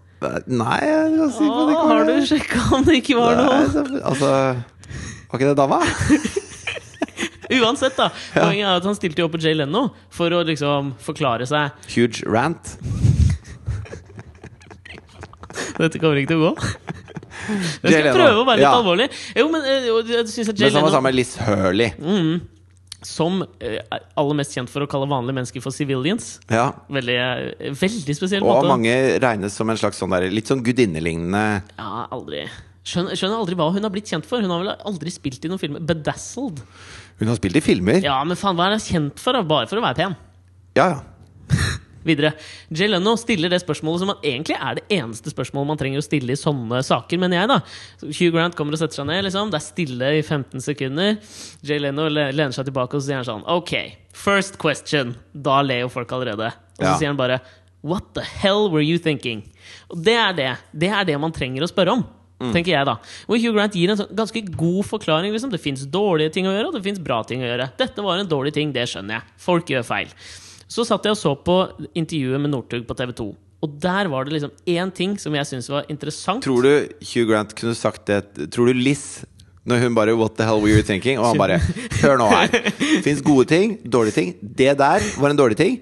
Speaker 1: Nei, jeg kan si på
Speaker 2: Å,
Speaker 1: det ikke
Speaker 2: har
Speaker 1: var
Speaker 2: du
Speaker 1: det.
Speaker 2: sjekka om det ikke var
Speaker 1: Nei,
Speaker 2: noe?
Speaker 1: så- Altså Var ikke det dama?
Speaker 2: Uansett, da. Poenget er at han stilte jo opp på Jay Leno for å liksom forklare seg.
Speaker 1: Huge rant.
Speaker 2: Dette kommer ikke til å gå. Jeg
Speaker 1: Jay
Speaker 2: skal
Speaker 1: Leno.
Speaker 2: prøve å være litt
Speaker 1: Ja.
Speaker 2: alvorlig. Jo, men eh, jo, jeg synes at Jay Leno,
Speaker 1: Men som var
Speaker 2: Mm.
Speaker 1: sammen med Liss Hurley.
Speaker 2: som eh, er aller mest kjent for å kalle vanlige mennesker for civilians
Speaker 1: Ja.
Speaker 2: Veldig, eh, veldig spesiell
Speaker 1: Og
Speaker 2: måte.
Speaker 1: mange regnes som en slags sånn der, litt sånn gudinnelignende
Speaker 2: Ja, aldri Skjønner, skjønner aldri hva hun har blitt kjent for. Hun har vel aldri spilt i noen filmer. Bedazzled.
Speaker 1: Hun har spilt i filmer.
Speaker 2: Ja, men faen, hva er hun kjent for? da? Bare for å være pen.
Speaker 1: Ja, ja.
Speaker 2: Videre. Jay Leno stiller det spørsmålet som man egentlig er det eneste spørsmålet man trenger å stille i sånne saker, mener jeg, da. Så Hugh Grant kommer og setter seg ned, liksom. Det er stille i 15 sekunder. Jay Leno le- lener seg tilbake og så sier han sånn OK, first question. Da ler jo folk allerede. Og så
Speaker 1: Ja.
Speaker 2: sier han bare What the hell were you thinking? Og det er det. Det er det man trenger å spørre om. Tenker jeg da Hvor Hugh Grant gir en sånn ganske god forklaring. Liksom. Det fins dårlige ting å gjøre, og det fins bra ting å gjøre. Dette var en dårlig ting, det skjønner jeg. Folk gjør feil. Så satt jeg og så på intervjuet med Northug på TV 2. Og der var det liksom én ting som jeg syntes var interessant.
Speaker 1: Tror du Hugh Grant kunne sagt det Tror du Liss når hun bare 'What the hell were you thinking?' Og han bare 'Hør nå her. Fins gode ting, dårlige ting. Det der var en dårlig ting.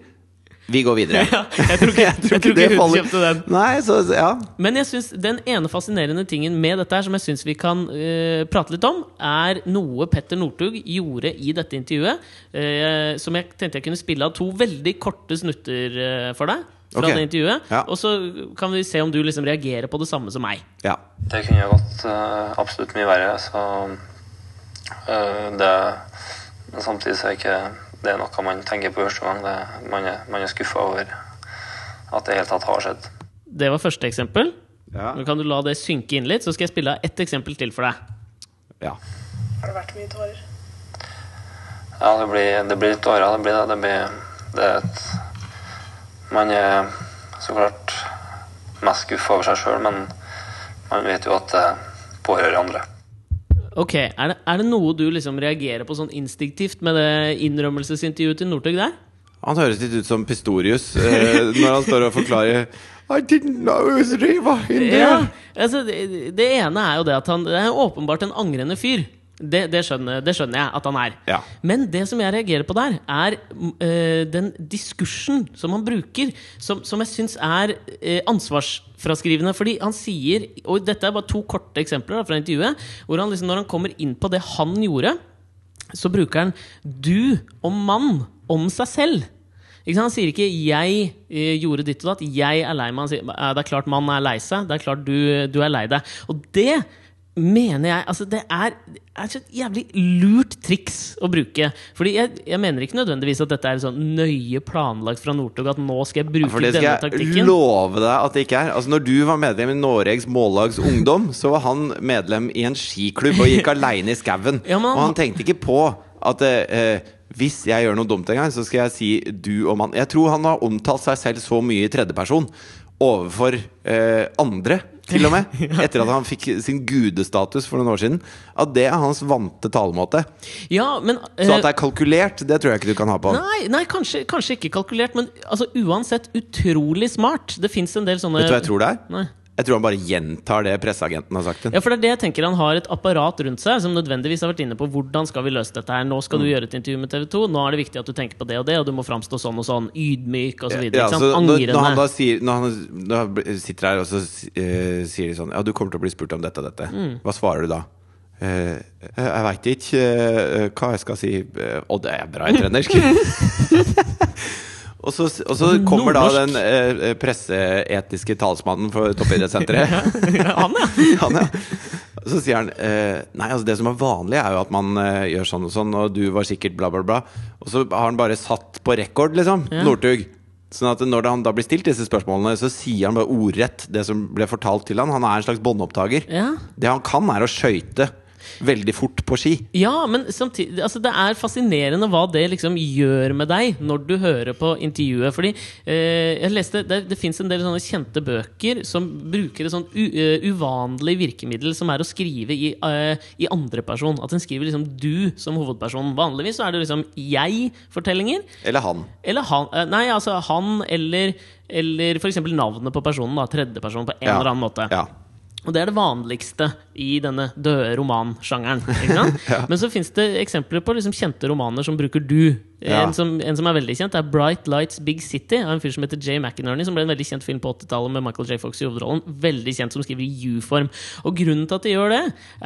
Speaker 1: Vi går videre'.
Speaker 2: Ja, jeg tror ikke, jeg tror ikke, hun
Speaker 1: faller-
Speaker 2: kjøpte den.
Speaker 1: Nei, så så- ja.
Speaker 2: Men jeg synes den ene fascinerende tingen med dette her, som jeg syns vi kan eh, prate litt om, er noe Petter Northug gjorde i dette intervjuet, eh, som jeg tenkte jeg kunne spille av to veldig korte snutter eh, for deg. Fra
Speaker 1: Ok.
Speaker 2: det intervjuet
Speaker 1: Ja.
Speaker 2: Og så kan vi se om du liksom reagerer på det samme som meg.
Speaker 1: ja.
Speaker 3: Det kunne jo gått eh, absolutt mye verre, så eh, det Men samtidig så er ikke det noe man tenker på første gang. Det, man er, man er skuffa over at det i hele tatt har skjedd.
Speaker 2: Det var første eksempel.
Speaker 1: Ja.
Speaker 2: Nå kan du la det synke inn litt, så skal jeg spille av ett eksempel til for deg.
Speaker 1: ja.
Speaker 4: Har det vært mye tårer?
Speaker 3: Ja, det blir, det blir litt åra. Det blir det. Det blir det er et Man er så klart mest skuffa over seg sjøl, men man vet jo at det pårører andre.
Speaker 2: Ok, er det, er det noe du liksom reagerer på sånn instinktivt med det innrømmelsesintervjuet til Northug der?
Speaker 1: Han høres litt ut som Pistorius eh, når han står og forklarer I didn't know it was Riva in there.
Speaker 2: Ja, altså, det, det ene er jo det at han det er åpenbart en angrende fyr. Det, det, skjønner, det skjønner jeg at han er.
Speaker 1: Ja.
Speaker 2: Men det som jeg reagerer på der, er mm, eh, den diskursen som han bruker, som, som jeg syns er eh, ansvarsfraskrivende. Fordi han sier, og dette er bare to korte eksempler da, fra intervjuet, hvor han liksom, når han kommer inn på det han gjorde, så bruker han 'du' og 'mann' om seg selv. Ikke sant? Han sier ikke 'jeg eh, gjorde ditt og datt', 'jeg er lei meg'. Han sier, «Ja, 'Det er klart man er lei seg', 'det er klart du, du er lei deg'. Og det mener jeg altså Det er, det er så et jævlig lurt triks å bruke. Fordi jeg, jeg mener ikke nødvendigvis at dette er sånn nøye planlagt fra Northug at nå skal jeg bruke
Speaker 1: For det
Speaker 2: denne
Speaker 1: skal jeg
Speaker 2: taktikken.
Speaker 1: love deg at det ikke er. Altså Når du var medlem i Noregs Mållags Ungdom, så var han medlem i en skiklubb og gikk aleine i skauen.
Speaker 2: Ja, men han-
Speaker 1: Og han tenkte ikke på at eh, hvis jeg gjør noe dumt en gang, så skal jeg si du og mann. Jeg tror han har omtalt seg selv så mye i tredjeperson overfor eh, andre, til og med, etter at han fikk sin gudestatus for noen år siden, at det er hans vante talemåte.
Speaker 2: Ja, men,
Speaker 1: Så
Speaker 2: eh,
Speaker 1: at det er kalkulert, det tror jeg ikke du kan ha på.
Speaker 2: Nei, nei kanskje, kanskje ikke kalkulert, men altså, uansett utrolig smart. Det fins en del sånne
Speaker 1: Vet du hva jeg tror det er?
Speaker 2: Nei.
Speaker 1: Jeg tror han bare gjentar det presseagenten har sagt til ham.
Speaker 2: Ja, for det er det jeg tenker Han har et apparat rundt seg som nødvendigvis har vært inne på hvordan skal vi løse dette. her Nå skal du
Speaker 1: Mm.
Speaker 2: gjøre et intervju med TV 2, nå er det viktig at du tenker på det og det, og du må framstå sånn og sånn. Ydmyk og så videre.
Speaker 1: Ja,
Speaker 2: ikke
Speaker 1: så
Speaker 2: sant?
Speaker 1: når, når han
Speaker 2: Angrende.
Speaker 1: da sier Når han da bl- sitter her og så si- eh, sier de sånn Ja, du kommer til å bli spurt om dette og dette.
Speaker 2: Mm.
Speaker 1: Hva svarer du da? Eh, jeg veit ikke eh, hva jeg skal si eh, Å, det er bra i trøndersk! og, så, og så kommer da
Speaker 2: Nordnorsk.
Speaker 1: den eh, presseetiske talsmannen for Toppidrettssenteret.
Speaker 2: han, ja.
Speaker 1: han, ja. Så sier han eh, Nei, altså det som er vanlig er jo at man eh, gjør sånn og sånn, og du var sikkert bla, bla, bla. Og så har han bare satt på rekord, liksom. Northug. Sånn at når han da blir stilt disse spørsmålene, så sier han bare ordrett det som ble fortalt til han Han er en slags båndopptaker.
Speaker 2: Ja.
Speaker 1: Det han kan, er å skøyte veldig fort på ski.
Speaker 2: ja, men samtidig altså, Det er fascinerende hva det liksom gjør med deg når du hører på intervjuet. Fordi eh, jeg leste Det, det fins en del sånne kjente bøker som bruker et sånn u, eh, uvanlig virkemiddel som er å skrive i, eh, i andreperson. At en skriver liksom du som hovedperson. Vanligvis så er det liksom jeg-fortellinger.
Speaker 1: Eller han.
Speaker 2: Eller han eh, Nei, altså han eller eller f.eks. navnet på personen. da Tredjeperson på en
Speaker 1: Ja.
Speaker 2: eller annen måte.
Speaker 1: Ja.
Speaker 2: Og det er det vanligste i denne døde romansjangeren. Ikke sant? Men så fins det eksempler på liksom kjente romaner som bruker du.
Speaker 1: Ja.
Speaker 2: En, som, en som er veldig kjent, er Bright Lights Big City av en fyr som heter Jay McInerney, som ble en veldig kjent film på 80-tallet med Michael J. Fox i hovedrollen. Veldig kjent som skriver i U-form. Og grunnen til at de gjør det,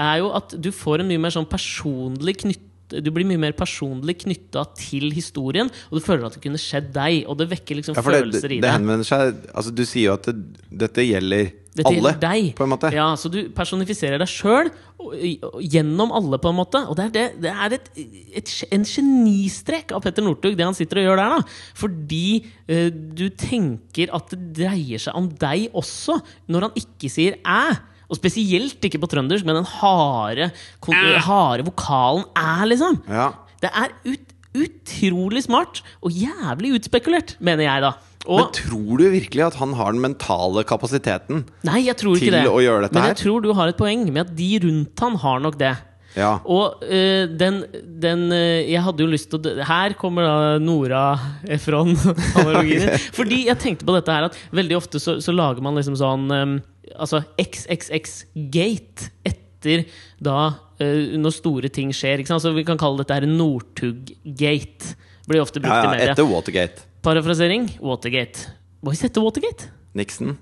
Speaker 2: er jo at du får en mye mer sånn personlig knytt du blir mye mer personlig knytta til historien, og du føler at det kunne skjedd deg. Og det vekker liksom
Speaker 1: Ja, for det,
Speaker 2: følelser i
Speaker 1: det
Speaker 2: deg.
Speaker 1: henvender seg Altså, du sier jo at det, dette gjelder
Speaker 2: Dette
Speaker 1: alle,
Speaker 2: gjelder deg.
Speaker 1: på en måte.
Speaker 2: Ja, Så du personifiserer deg sjøl gjennom alle, på en måte. Og det er, det, det er et, et, en genistrek av Petter Northug, det han sitter og gjør der. da Fordi eh, du tenker at det dreier seg om deg også, når han ikke sier 'æ'. Og spesielt ikke på trøndersk, men den harde, kon- harde vokalen 'æ', liksom.
Speaker 1: Ja.
Speaker 2: Det er ut, utrolig smart, og jævlig utspekulert, mener jeg, da.
Speaker 1: Men
Speaker 2: Og,
Speaker 1: tror du virkelig at han har den mentale kapasiteten?
Speaker 2: Nei, jeg tror ikke
Speaker 1: til
Speaker 2: det.
Speaker 1: å gjøre dette
Speaker 2: Men
Speaker 1: her.
Speaker 2: jeg tror du har et poeng med at de rundt han har nok det.
Speaker 1: Ja.
Speaker 2: Og eh, den, den eh, Jeg hadde jo lyst til å dø- Her kommer da Nora Efron-analogien. min. Fordi jeg tenkte på dette her at veldig ofte så, så lager man liksom sånn um, Altså XXX-gate etter da eh, Når store ting skjer. Ikke sant? Så vi kan kalle dette her Northug-gate. Blir ofte brukt
Speaker 1: Ja, ja,
Speaker 2: i media.
Speaker 1: etter Watergate.
Speaker 2: Parafrasering Watergate. Hva heter Watergate?
Speaker 1: Nixon.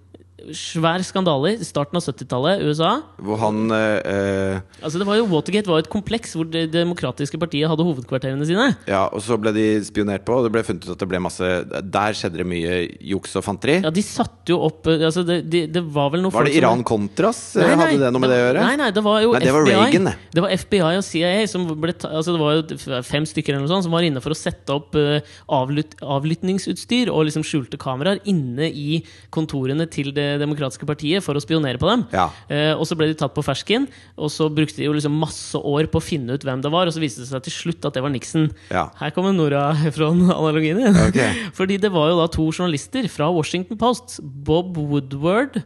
Speaker 2: svær skandale i starten av 70-tallet i USA.
Speaker 1: Hvor han eh, eh,
Speaker 2: Altså det var jo, Watergate var jo et kompleks hvor Det demokratiske partiet hadde hovedkvarterene sine.
Speaker 1: Ja, og så ble de spionert på, og det ble funnet ut at det ble masse Der skjedde det mye juks og fanteri.
Speaker 2: Ja, De satte jo opp eh, altså det, de, det var vel noe
Speaker 1: Var det
Speaker 2: folk som-
Speaker 1: Iran-Contras? Hadde det noe med det å gjøre?
Speaker 2: Nei, nei, det var jo
Speaker 1: Nei, det var
Speaker 2: FBI.
Speaker 1: Reagan, det.
Speaker 2: Det var FBI og CIA som ble ta, altså Det var jo f- fem stykker eller noe sånt som var inne for å sette opp eh, avlyt, avlyttingsutstyr og liksom skjulte kameraer inne i kontorene til Det demokratiske partiet for å spionere på dem.
Speaker 1: Ja.
Speaker 2: Eh, og så ble de tatt på fersken, og så brukte de jo liksom masse år på å finne ut hvem det var, og så viste det seg til slutt at det var Nixon.
Speaker 1: Ja.
Speaker 2: Her kommer Nora-analogien din.
Speaker 1: Ok.
Speaker 2: Fordi det var jo da to journalister fra Washington Post, Bob Woodward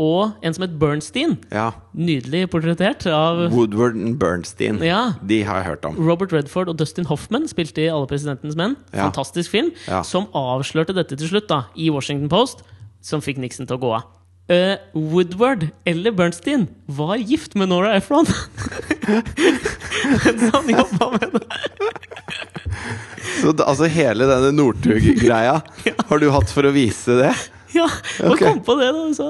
Speaker 2: og en som het Bernstein.
Speaker 1: Ja.
Speaker 2: Nydelig portrettert av
Speaker 1: Woodward and Bernstein.
Speaker 2: Ja.
Speaker 1: De har jeg hørt om.
Speaker 2: Robert Redford og Dustin Hoffman spilte i Alle presidentens menn.
Speaker 1: Ja.
Speaker 2: Fantastisk film.
Speaker 1: Ja.
Speaker 2: Som avslørte dette til slutt, da, i Washington Post, som fikk Nixon til å gå av. Eh, Woodward eller Bernstein var gift med Nora Ephron! Mens han jobba med det.
Speaker 1: Så da- altså hele denne Northug-greia har du hatt for å vise det?
Speaker 2: Ja, og
Speaker 1: Ok.
Speaker 2: kom på det, da! Så.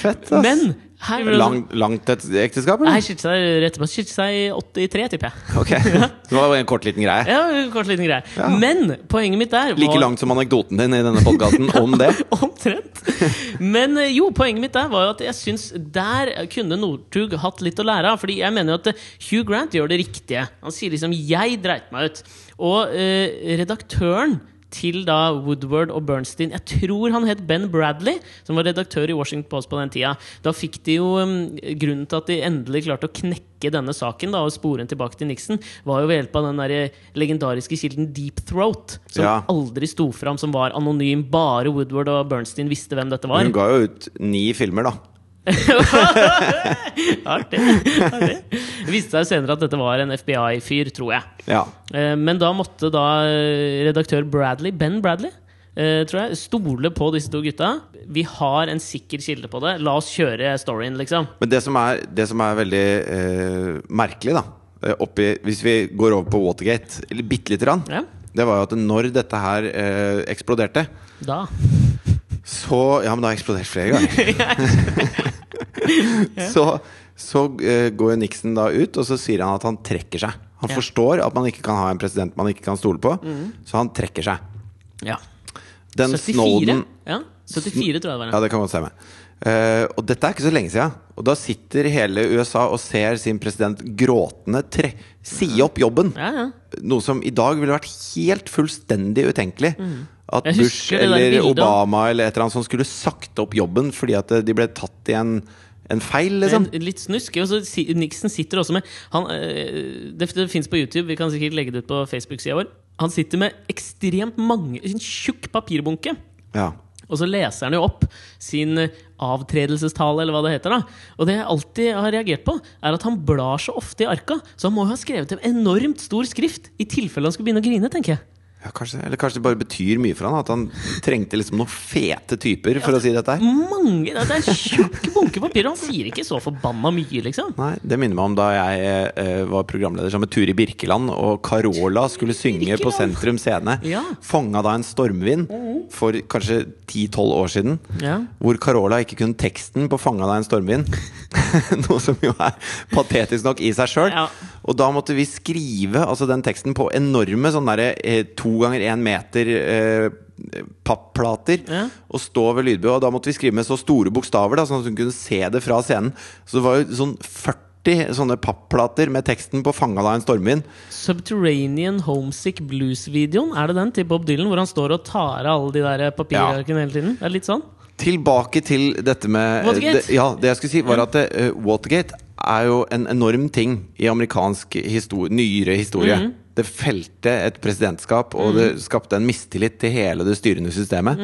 Speaker 1: Fett, ass.
Speaker 2: Men her
Speaker 1: Lang, langt et ekteskap,
Speaker 2: Nei,
Speaker 1: eller?
Speaker 2: skilte seg rett etterpå. Skilte seg i 83, tipper jeg.
Speaker 1: Ok. Det var jo en kort, liten greie.
Speaker 2: Ja, kort liten greie. Men poenget mitt der var
Speaker 1: Like langt som anekdoten din i denne podkasten om det.
Speaker 2: Omtrent. Men eh, jo, poenget mitt der var jo at jeg syns der kunne Northug hatt litt å lære av. Fordi jeg mener jo at eh, Hugh Grant gjør det riktige. Han sier liksom 'jeg dreit meg ut'. Og eh, redaktøren til da Woodward og Bernstein Jeg tror han het Ben Bradley, som var redaktør i Washington Post på den tida. Da fikk de jo um, Grunnen til at de endelig klarte å knekke denne saken da, og spore den tilbake til Nixon, var jo ved hjelp av den der legendariske kilden Deep Throat, som
Speaker 1: Ja.
Speaker 2: aldri sto fram, som var anonym. Bare Woodward og Bernstein visste hvem dette var.
Speaker 1: Hun ga jo ut ni filmer, da.
Speaker 2: Artig. Artig. Det viste seg senere at dette var en FBI-fyr, tror jeg.
Speaker 1: Ja.
Speaker 2: Eh, Men da måtte da eh, redaktør Bradley, Ben Bradley, eh, tror jeg, stole på disse to gutta. Vi har en sikker kilde på det. La oss kjøre storyen, liksom.
Speaker 1: Men det som er, det som er veldig eh, merkelig, da eh, oppi, Hvis vi går over på Watergate eller bitte lite grann,
Speaker 2: Ja.
Speaker 1: det var jo at når dette her eh, eksploderte,
Speaker 2: Da.
Speaker 1: så Ja, men det har eksplodert flere ganger. så så eh, går jo Nixon da ut, og så sier han at han trekker seg.
Speaker 2: Ja.
Speaker 1: Han
Speaker 2: Mm.
Speaker 1: forstår at man ikke kan ha en president man ikke kan stole på, så han trekker seg.
Speaker 2: Ja.
Speaker 1: Den
Speaker 2: 74?
Speaker 1: Snowden
Speaker 2: ja. 74, tror jeg det var.
Speaker 1: Ja, det kan godt stemme. Eh, og dette er ikke så lenge siden. Og da sitter hele USA og ser sin president gråtende tre si opp jobben.
Speaker 2: Ja, ja.
Speaker 1: Noe som i dag ville vært helt fullstendig utenkelig. At
Speaker 2: Mm. Jeg
Speaker 1: Bush
Speaker 2: husker det der
Speaker 1: eller
Speaker 2: bildet.
Speaker 1: Obama eller et eller annet som skulle sagt opp jobben fordi at eh, de ble tatt i en, en feil, liksom.
Speaker 2: Men litt snusk. Og så si- Nixon sitter også med han, eh, Det, det fins på YouTube, vi kan sikkert legge det ut på Facebook-sida vår. Han sitter med ekstremt mange En tjukk papirbunke.
Speaker 1: Ja.
Speaker 2: Og så leser han jo opp sin avtredelsestale, eller hva det heter. da Og det jeg alltid har reagert på, er at han blar så ofte i arka, så han må jo ha skrevet en enormt stor skrift i tilfelle han skulle begynne å grine, tenker jeg.
Speaker 1: Ja, kanskje, eller kanskje det bare betyr mye for han At han trengte liksom noen fete typer for å si dette her.
Speaker 2: Mange, Det er en tjukk bunke papir, og han sier ikke så forbanna mye, liksom.
Speaker 1: Nei, Det minner meg om da jeg eh, var programleder sammen med Turi Birkeland, og Carola skulle synge på
Speaker 2: Birkeland.
Speaker 1: Sentrum Scene.
Speaker 2: Ja.
Speaker 1: Fanga da en stormvind for kanskje 10-12 år siden.
Speaker 2: Ja.
Speaker 1: Hvor Carola ikke kunne teksten på 'Fanga da en stormvind'. Noe som jo er patetisk nok i seg sjøl.
Speaker 2: Ja.
Speaker 1: Og da måtte vi skrive altså den teksten på enorme sånn derre eh, to ganger én meter eh, papplater
Speaker 2: Ja.
Speaker 1: og stå ved lydbua. Og da måtte vi skrive med så store bokstaver, da, sånn at hun kunne se det fra scenen. Så det var jo sånn 40 sånne papplater med teksten på 'Fanga da en stormvind'.
Speaker 2: Subterranean Homesick Blues-videoen, er det den til Bob Dylan, hvor han står og tar av alle de der eh, papirarkene hele tiden? Det er litt sånn.
Speaker 1: Tilbake til dette med eh,
Speaker 2: Watergate?
Speaker 1: Det, ja, det jeg skulle si, var at eh, Watergate er jo en enorm ting i amerikansk histor nyere historie. Det felte et presidentskap, og det skapte en mistillit til hele det styrende systemet.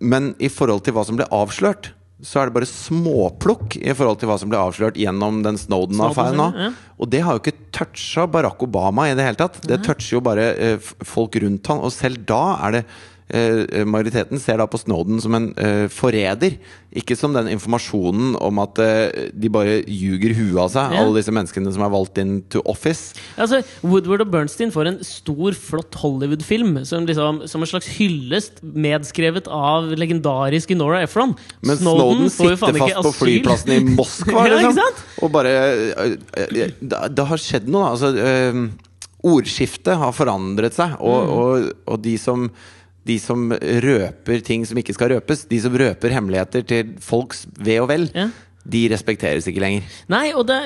Speaker 1: Men i forhold til hva som ble avslørt, så er det bare småplukk i forhold til hva som ble avslørt gjennom den Snowden-affæren nå.
Speaker 2: Snowden, ja.
Speaker 1: Og det har jo ikke toucha Barack Obama i det hele tatt. Det toucher jo bare eh, f- folk rundt han, og selv da er det eh, majoriteten ser da på Snowden som en eh, forræder. Ikke som den informasjonen om at eh, de bare ljuger huet av seg,
Speaker 2: Ja.
Speaker 1: alle disse menneskene som er valgt inn to office.
Speaker 2: Altså, Woodward og Bernstein får en stor, flott Hollywood-film som, liksom, som en slags hyllest, medskrevet av legendariske Nora Ephron.
Speaker 1: Men Snowden,
Speaker 2: får jo faen
Speaker 1: sitter fast
Speaker 2: ikke
Speaker 1: på
Speaker 2: asyl.
Speaker 1: flyplassen i Moskva,
Speaker 2: Ja, ikke
Speaker 1: liksom.
Speaker 2: sant?
Speaker 1: Og bare eh, eh, Det det har skjedd noe, da. Altså, eh, ordskiftet har forandret seg, og,
Speaker 2: Mm.
Speaker 1: og, og de som de som røper ting som ikke skal røpes, de som røper hemmeligheter til folks ve og vel,
Speaker 2: Ja.
Speaker 1: de respekteres ikke lenger.
Speaker 2: Nei, og, det,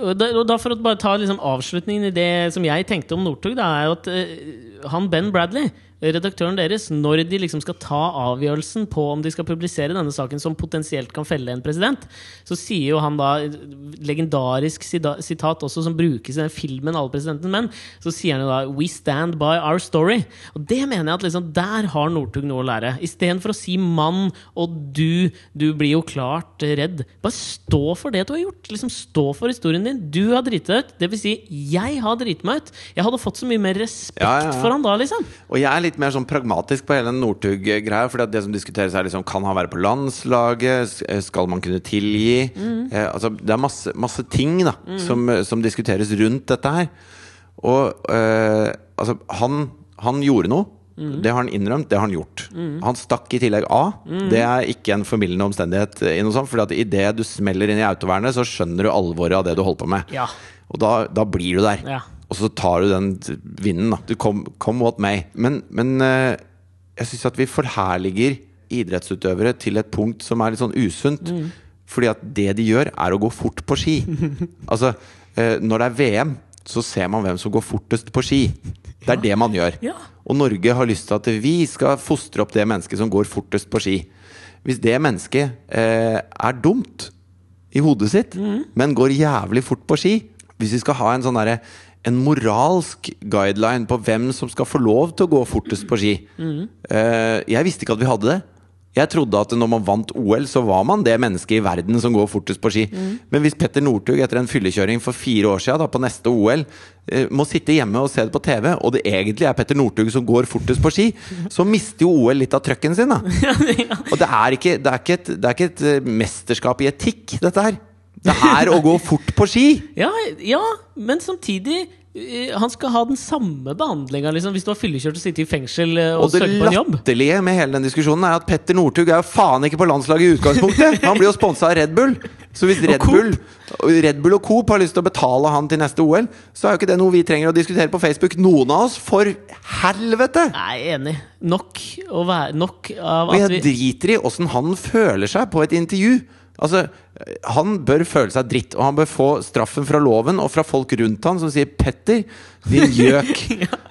Speaker 2: og, da, og da for å bare ta liksom avslutningen i det som jeg tenkte om Northug, da, er jo at eh, han Ben Bradley, redaktøren deres, når de liksom skal ta avgjørelsen på om de skal publisere denne saken som potensielt kan felle en president, så sier jo han da et legendarisk sida- sitat også som brukes i den filmen 'Alle presidentens menn', så sier han jo da 'We stand by our story'. Og det mener jeg at liksom der har Northug noe å lære. Istedenfor å si 'mann' og 'du', du blir jo klart redd. Bare stå for det du har gjort. Liksom Stå for historien din. Du har driti deg ut. Det vil si, jeg har driti meg ut. Jeg hadde fått så mye mer respekt
Speaker 1: Ja, ja, ja.
Speaker 2: for han da, liksom.
Speaker 1: Og jeg er litt mer sånn pragmatisk på hele den Northug-greia. For det som diskuteres, er liksom kan han være på landslaget? S- eh, Skal man kunne tilgi?
Speaker 2: Mm.
Speaker 1: Eh, altså, det er masse, masse ting da som, eh, som diskuteres rundt dette her. Og eh, altså, han, han gjorde noe.
Speaker 2: Mm.
Speaker 1: Det har han innrømt, det har han gjort. Han stakk i tillegg av.
Speaker 2: Mm.
Speaker 1: Det er ikke en formildende omstendighet. eh, i noe sånt, fordi at idet du smeller inn i autovernet, så skjønner du alvoret av det du holder på med.
Speaker 2: Ja.
Speaker 1: Og da, da blir du der.
Speaker 2: Ja.
Speaker 1: Og så tar du den t- vinden, da. Du kom, come what may. Men, men eh, jeg syns at vi forherliger idrettsutøvere til et punkt som er litt sånn usunt.
Speaker 2: Mm.
Speaker 1: Fordi at det de gjør, er å gå fort på ski. altså, eh, når det er VM, så ser man hvem som går fortest på ski. Det er det man gjør.
Speaker 2: Ja.
Speaker 1: Og Norge har lyst til at vi skal fostre opp det mennesket som går fortest på ski. Hvis det mennesket eh, er dumt i hodet sitt, men går jævlig fort på ski Hvis vi skal ha en sånn derre en moralsk guideline på hvem som skal få lov til å gå fortest på ski. Eh, jeg visste ikke at vi hadde det. Jeg trodde at når man vant OL, så var man det mennesket i verden som går fortest på ski. Men hvis Petter Northug etter en fyllekjøring for fire år siden, da, på neste OL, eh, må sitte hjemme og se det på TV, og det egentlig er Petter Northug som går fortest på ski, så mister jo OL litt av trøkken sin, da. Og det er ikke, det er ikke, et, det er ikke et eh, mesterskap i etikk, dette her. Det er å gå fort på ski!
Speaker 2: Ja, ja men samtidig eh, han skal ha den samme behandlinga liksom, hvis du har fyllekjørt og sittet i fengsel eh, og,
Speaker 1: Og det
Speaker 2: søker på en jobb.
Speaker 1: latterlige med hele den diskusjonen er at Petter Northug er jo faen ikke på landslaget i utgangspunktet! Han blir jo sponsa av Red Bull! Så hvis Red
Speaker 2: Coop.
Speaker 1: Bull, Red Bull og Coop har lyst til å betale han til neste OL, så er jo ikke det noe vi trenger å diskutere på Facebook, noen av oss! For helvete!
Speaker 2: Nei, jeg er enig. Nok, å være, nok av
Speaker 1: Og
Speaker 2: at
Speaker 1: jeg
Speaker 2: vi
Speaker 1: driter i åssen han føler seg på et intervju. Altså, Han bør føle seg dritt, og han bør få straffen fra loven og fra folk rundt han som sier 'Petter, din gjøk',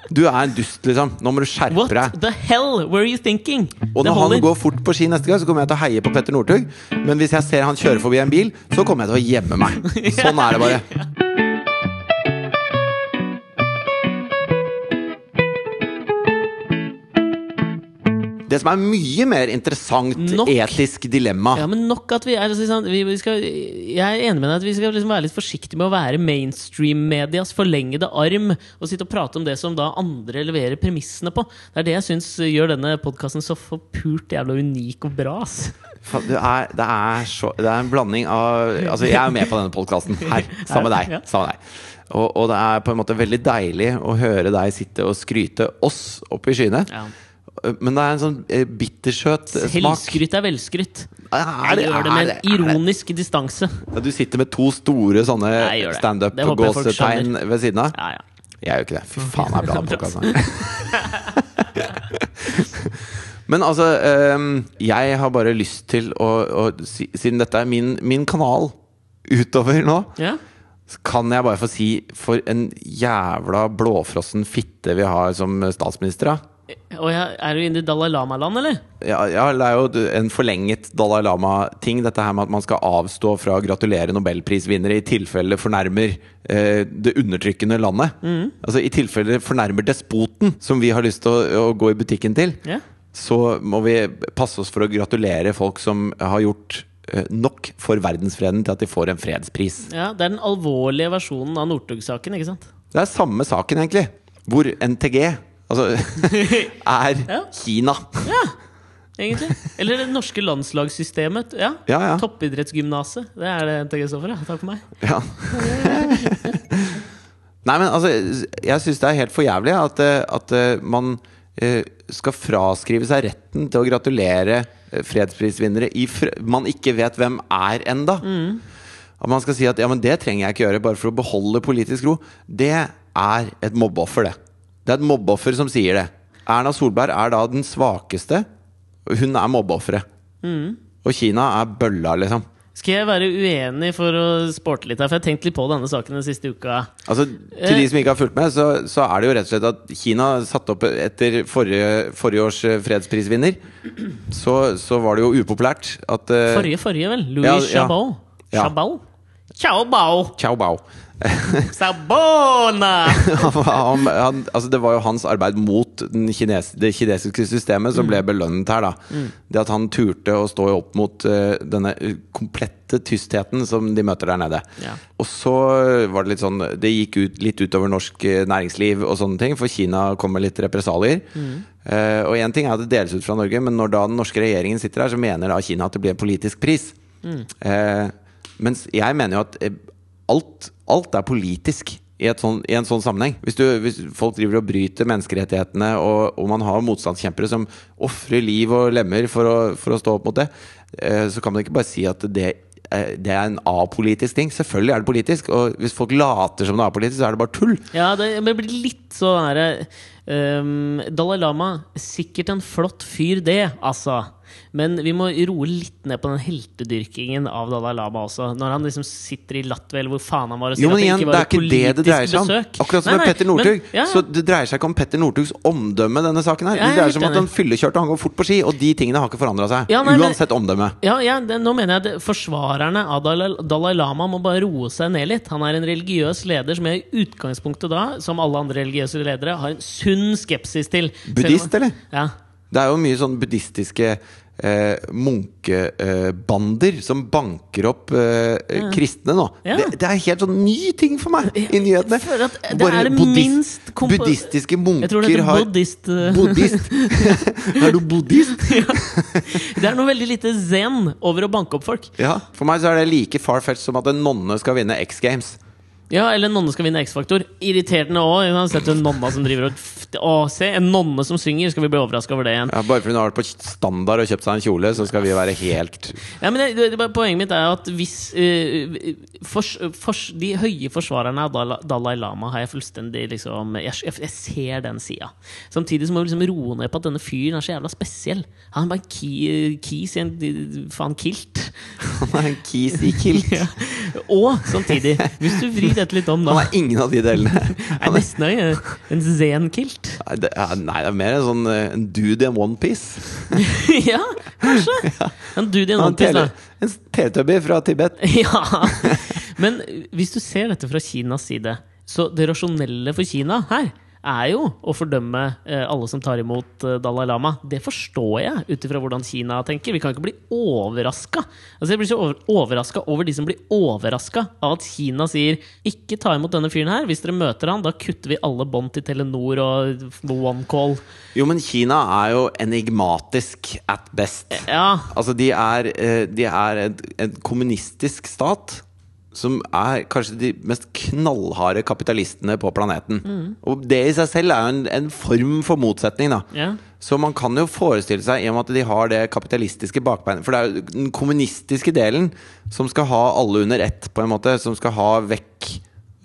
Speaker 1: du er en dust, liksom. Nå må du skjerpe
Speaker 2: What
Speaker 1: deg.
Speaker 2: the hell were you thinking?
Speaker 1: Og når han går fort på ski neste gang, så kommer jeg til å heie på Petter Northug. Men hvis jeg ser han kjøre forbi en bil, så kommer jeg til å gjemme meg. Sånn er det bare. Det som er mye mer interessant
Speaker 2: Nok.
Speaker 1: etisk dilemma
Speaker 2: Ja, men nok at vi er altså, liksom, vi, vi skal, Jeg er enig med deg at vi skal liksom være litt forsiktige med å være mainstream-medias forlengede arm og sitte og prate om det som da andre leverer premissene på. Det er det jeg syns gjør denne podkasten så forpult jævla unik og bra. ass.
Speaker 1: Faen, Det er, det, er så, det er en blanding av Altså, jeg er jo med på denne podkasten her, sammen med
Speaker 2: Ja.
Speaker 1: deg. Sammen med deg. Og, og det er på en måte veldig deilig å høre deg sitte og skryte oss opp i skyene.
Speaker 2: Ja.
Speaker 1: Men det er en sånn eh, bittersøt eh, smak.
Speaker 2: Selvskryt er velskryt.
Speaker 1: Er
Speaker 2: Jeg
Speaker 1: det-
Speaker 2: gjør det
Speaker 1: er
Speaker 2: med
Speaker 1: det-
Speaker 2: en
Speaker 1: er det-
Speaker 2: ironisk distanse.
Speaker 1: Ja, du sitter med to store sånne
Speaker 2: Jeg gjør det. Det håper jeg folk
Speaker 1: standup-gåsetegn ved siden av.
Speaker 2: Ja, ja.
Speaker 1: Jeg gjør jo ikke det. Fy faen, det er bra den podcasten her. Men altså, ehm, jeg har bare lyst til å, å si- Siden dette er min, min kanal utover nå,
Speaker 2: ja.
Speaker 1: så kan jeg bare få si for en jævla blåfrossen fitte vi har som statsminister, da.
Speaker 2: Og jeg, er du inne i Dalai Lama-land, eller?
Speaker 1: Ja, ja, det er jo en forlenget Dalai Lama-ting, dette her med at man skal avstå fra å gratulere nobelprisvinnere i tilfelle fornærmer eh, det undertrykkende landet.
Speaker 2: Mm.
Speaker 1: Altså i tilfelle fornærmer despoten, som vi har lyst til å, å gå i butikken til.
Speaker 2: Ja.
Speaker 1: Så må vi passe oss for å gratulere folk som har gjort eh, nok for verdensfreden til at de får en fredspris.
Speaker 2: Ja, Det er den alvorlige versjonen av Northug-saken. ikke sant?
Speaker 1: Det er samme saken, egentlig. Hvor NTG Altså er
Speaker 2: Ja.
Speaker 1: Kina.
Speaker 2: Ja, egentlig. Eller det norske landslagssystemet. Ja.
Speaker 1: Ja, ja.
Speaker 2: Toppidrettsgymnaset. Det er det til Kristoffer. Ja. Takk for meg.
Speaker 1: Ja. Nei, men altså, jeg syns det er helt for jævlig at, eh, at eh, man eh, skal fraskrive seg retten til å gratulere eh, fredsprisvinnere i fr man ikke vet hvem er enda. At man skal si at ja, men det trenger jeg ikke gjøre bare for å beholde politisk ro. Det er et mobbeoffer, det. Det er et mobbeoffer som sier det. Erna Solberg er da den svakeste. og Hun er mobbeofferet. Og Kina er bølla, liksom.
Speaker 2: Skal jeg være uenig for å sporte litt her? For jeg har tenkt litt på denne saken den siste uka.
Speaker 1: Altså, til de som ikke har fulgt med, så, så er det jo rett og slett at Kina satte opp etter forrige, forrige års eh, fredsprisvinner. Så, så var det jo upopulært at eh,
Speaker 2: Forrige, forrige, vel? Louis
Speaker 1: Ja, ja.
Speaker 2: Chabot.
Speaker 1: Ja.
Speaker 2: Chabot? Chabot.
Speaker 1: Cao Bao.
Speaker 2: Sabona!
Speaker 1: han, han, altså det var jo hans arbeid mot den kines, det kinesiske systemet som ble belønnet her. Da. Det at han turte å stå opp mot eh, denne komplette tystheten som de møter der nede.
Speaker 2: Ja.
Speaker 1: Og så var det litt sånn Det gikk ut, litt utover norsk eh, næringsliv og sånne ting, for Kina kom med litt represalier. Eh, og én ting er at det deles ut fra Norge, men når da den norske regjeringen sitter her, så mener da Kina at det blir en politisk pris. Eh, mens jeg mener jo at eh, alt, alt er politisk i, et sånn, i en sånn sammenheng. Hvis, du, hvis folk driver og bryter menneskerettighetene, og, og man har motstandskjempere som ofrer liv og lemmer for å, for å stå opp mot det, eh, så kan man ikke bare si at det, eh, det er en apolitisk ting. Selvfølgelig er det politisk, og hvis folk later som det er apolitisk, så er det bare tull.
Speaker 2: Ja, det men det blir litt sånn herre ehm, Dalai Lama, sikkert en flott fyr, det, altså. Men vi må roe litt ned på den heltedyrkingen av Dalai Lama også. Når han liksom sitter i Latvia, eller hvor faen han var, og sier
Speaker 1: Jo, men
Speaker 2: at det
Speaker 1: igjen,
Speaker 2: ikke
Speaker 1: det
Speaker 2: var et
Speaker 1: er ikke det det
Speaker 2: politisk
Speaker 1: dreier seg om.
Speaker 2: besøk.
Speaker 1: Akkurat som
Speaker 2: Nei,
Speaker 1: med
Speaker 2: nei,
Speaker 1: Petter Northug.
Speaker 2: men- ja, ja.
Speaker 1: Så det dreier seg ikke om Petter Northugs omdømme, denne saken her.
Speaker 2: Ja, jeg
Speaker 1: Det
Speaker 2: er
Speaker 1: dreier
Speaker 2: helt
Speaker 1: seg om at han
Speaker 2: enig.
Speaker 1: fyllekjørte, han går fort på ski, og de tingene har ikke forandra seg.
Speaker 2: Ja, nei, men-
Speaker 1: Uansett omdømme.
Speaker 2: Ja, ja det, nå mener jeg at forsvarerne av Dalai, Dalai Lama må bare roe seg ned litt. Han er en religiøs leder som jeg i utgangspunktet da, som alle andre religiøse ledere, har en sunn skepsis til. Selv om-
Speaker 1: Buddhist, eller?
Speaker 2: Ja.
Speaker 1: Det er jo mye sånn buddhistiske eh, munkebander eh, bander som banker opp eh, kristne nå.
Speaker 2: Ja.
Speaker 1: Det, det er helt sånn ny ting for meg i nyhetene.
Speaker 2: Jeg føler at det
Speaker 1: Bare
Speaker 2: er det
Speaker 1: buddhist-
Speaker 2: minst kompa-
Speaker 1: Buddhistiske
Speaker 2: Jeg tror det
Speaker 1: munker
Speaker 2: heter
Speaker 1: har
Speaker 2: buddhist. eh,
Speaker 1: Buddhist! er du buddhist?
Speaker 2: Det er noe veldig lite zen over å banke opp folk.
Speaker 1: Ja. For meg så er det like far-fetched som at en nonne skal vinne X Games.
Speaker 2: Ja, Eller en nonne skal vinne X-Faktor. Irriterende òg. Sett en nonne som driver og f- Å, se, en nonne som synger! Skal vi bli overraska over det igjen?
Speaker 1: Ja, bare fordi hun har vært på standard og kjøpt seg en kjole, så skal vi være helt
Speaker 2: Ja, men det, det, det, Poenget mitt er at hvis eh, fors, fors, De høye forsvarerne av Dala- Dalai Lama har jeg fullstendig liksom, jeg, jeg, jeg ser den sida. Samtidig så må vi liksom roe ned på at denne fyren er så jævla spesiell. Han er bare en ki, kis i en faen kilt.
Speaker 1: Han er en kis i kilt.
Speaker 2: Ja. Og samtidig, hvis du vrir dette litt om,
Speaker 1: Han
Speaker 2: da
Speaker 1: er ingen av de delene.
Speaker 2: er nesten en, en zen-kilt.
Speaker 1: Nei, det er, nei, det er mer en sånn eh, en dude i en onepiece.
Speaker 2: ja, kanskje. En dude i en
Speaker 1: En
Speaker 2: annen da.
Speaker 1: tele- en teletubby fra Tibet.
Speaker 2: Ja. Men hvis du ser dette fra Kinas side, så det rasjonelle for Kina her er jo å fordømme eh, alle som tar imot eh, Dalai Lama. Det forstår jeg, ut ifra hvordan Kina tenker. Vi kan ikke bli overraska. Altså, jeg blir så over overraska over de som blir overraska av at Kina sier 'ikke ta imot denne fyren her'. Hvis dere møter han, da kutter vi alle bånd til Telenor og OneCall.
Speaker 1: Jo, men Kina er jo enigmatisk at best.
Speaker 2: Ja,
Speaker 1: Altså, de er, eh, de er en, en kommunistisk stat som er kanskje de mest knallharde kapitalistene på planeten.
Speaker 2: Mm.
Speaker 1: Og det i seg selv er jo en, en form for motsetning, da.
Speaker 2: Ja.
Speaker 1: Så man kan jo forestille seg, i og med at de har det kapitalistiske bakbeinet For det er jo den kommunistiske delen som skal ha alle under ett, på en måte. Som skal ha vekk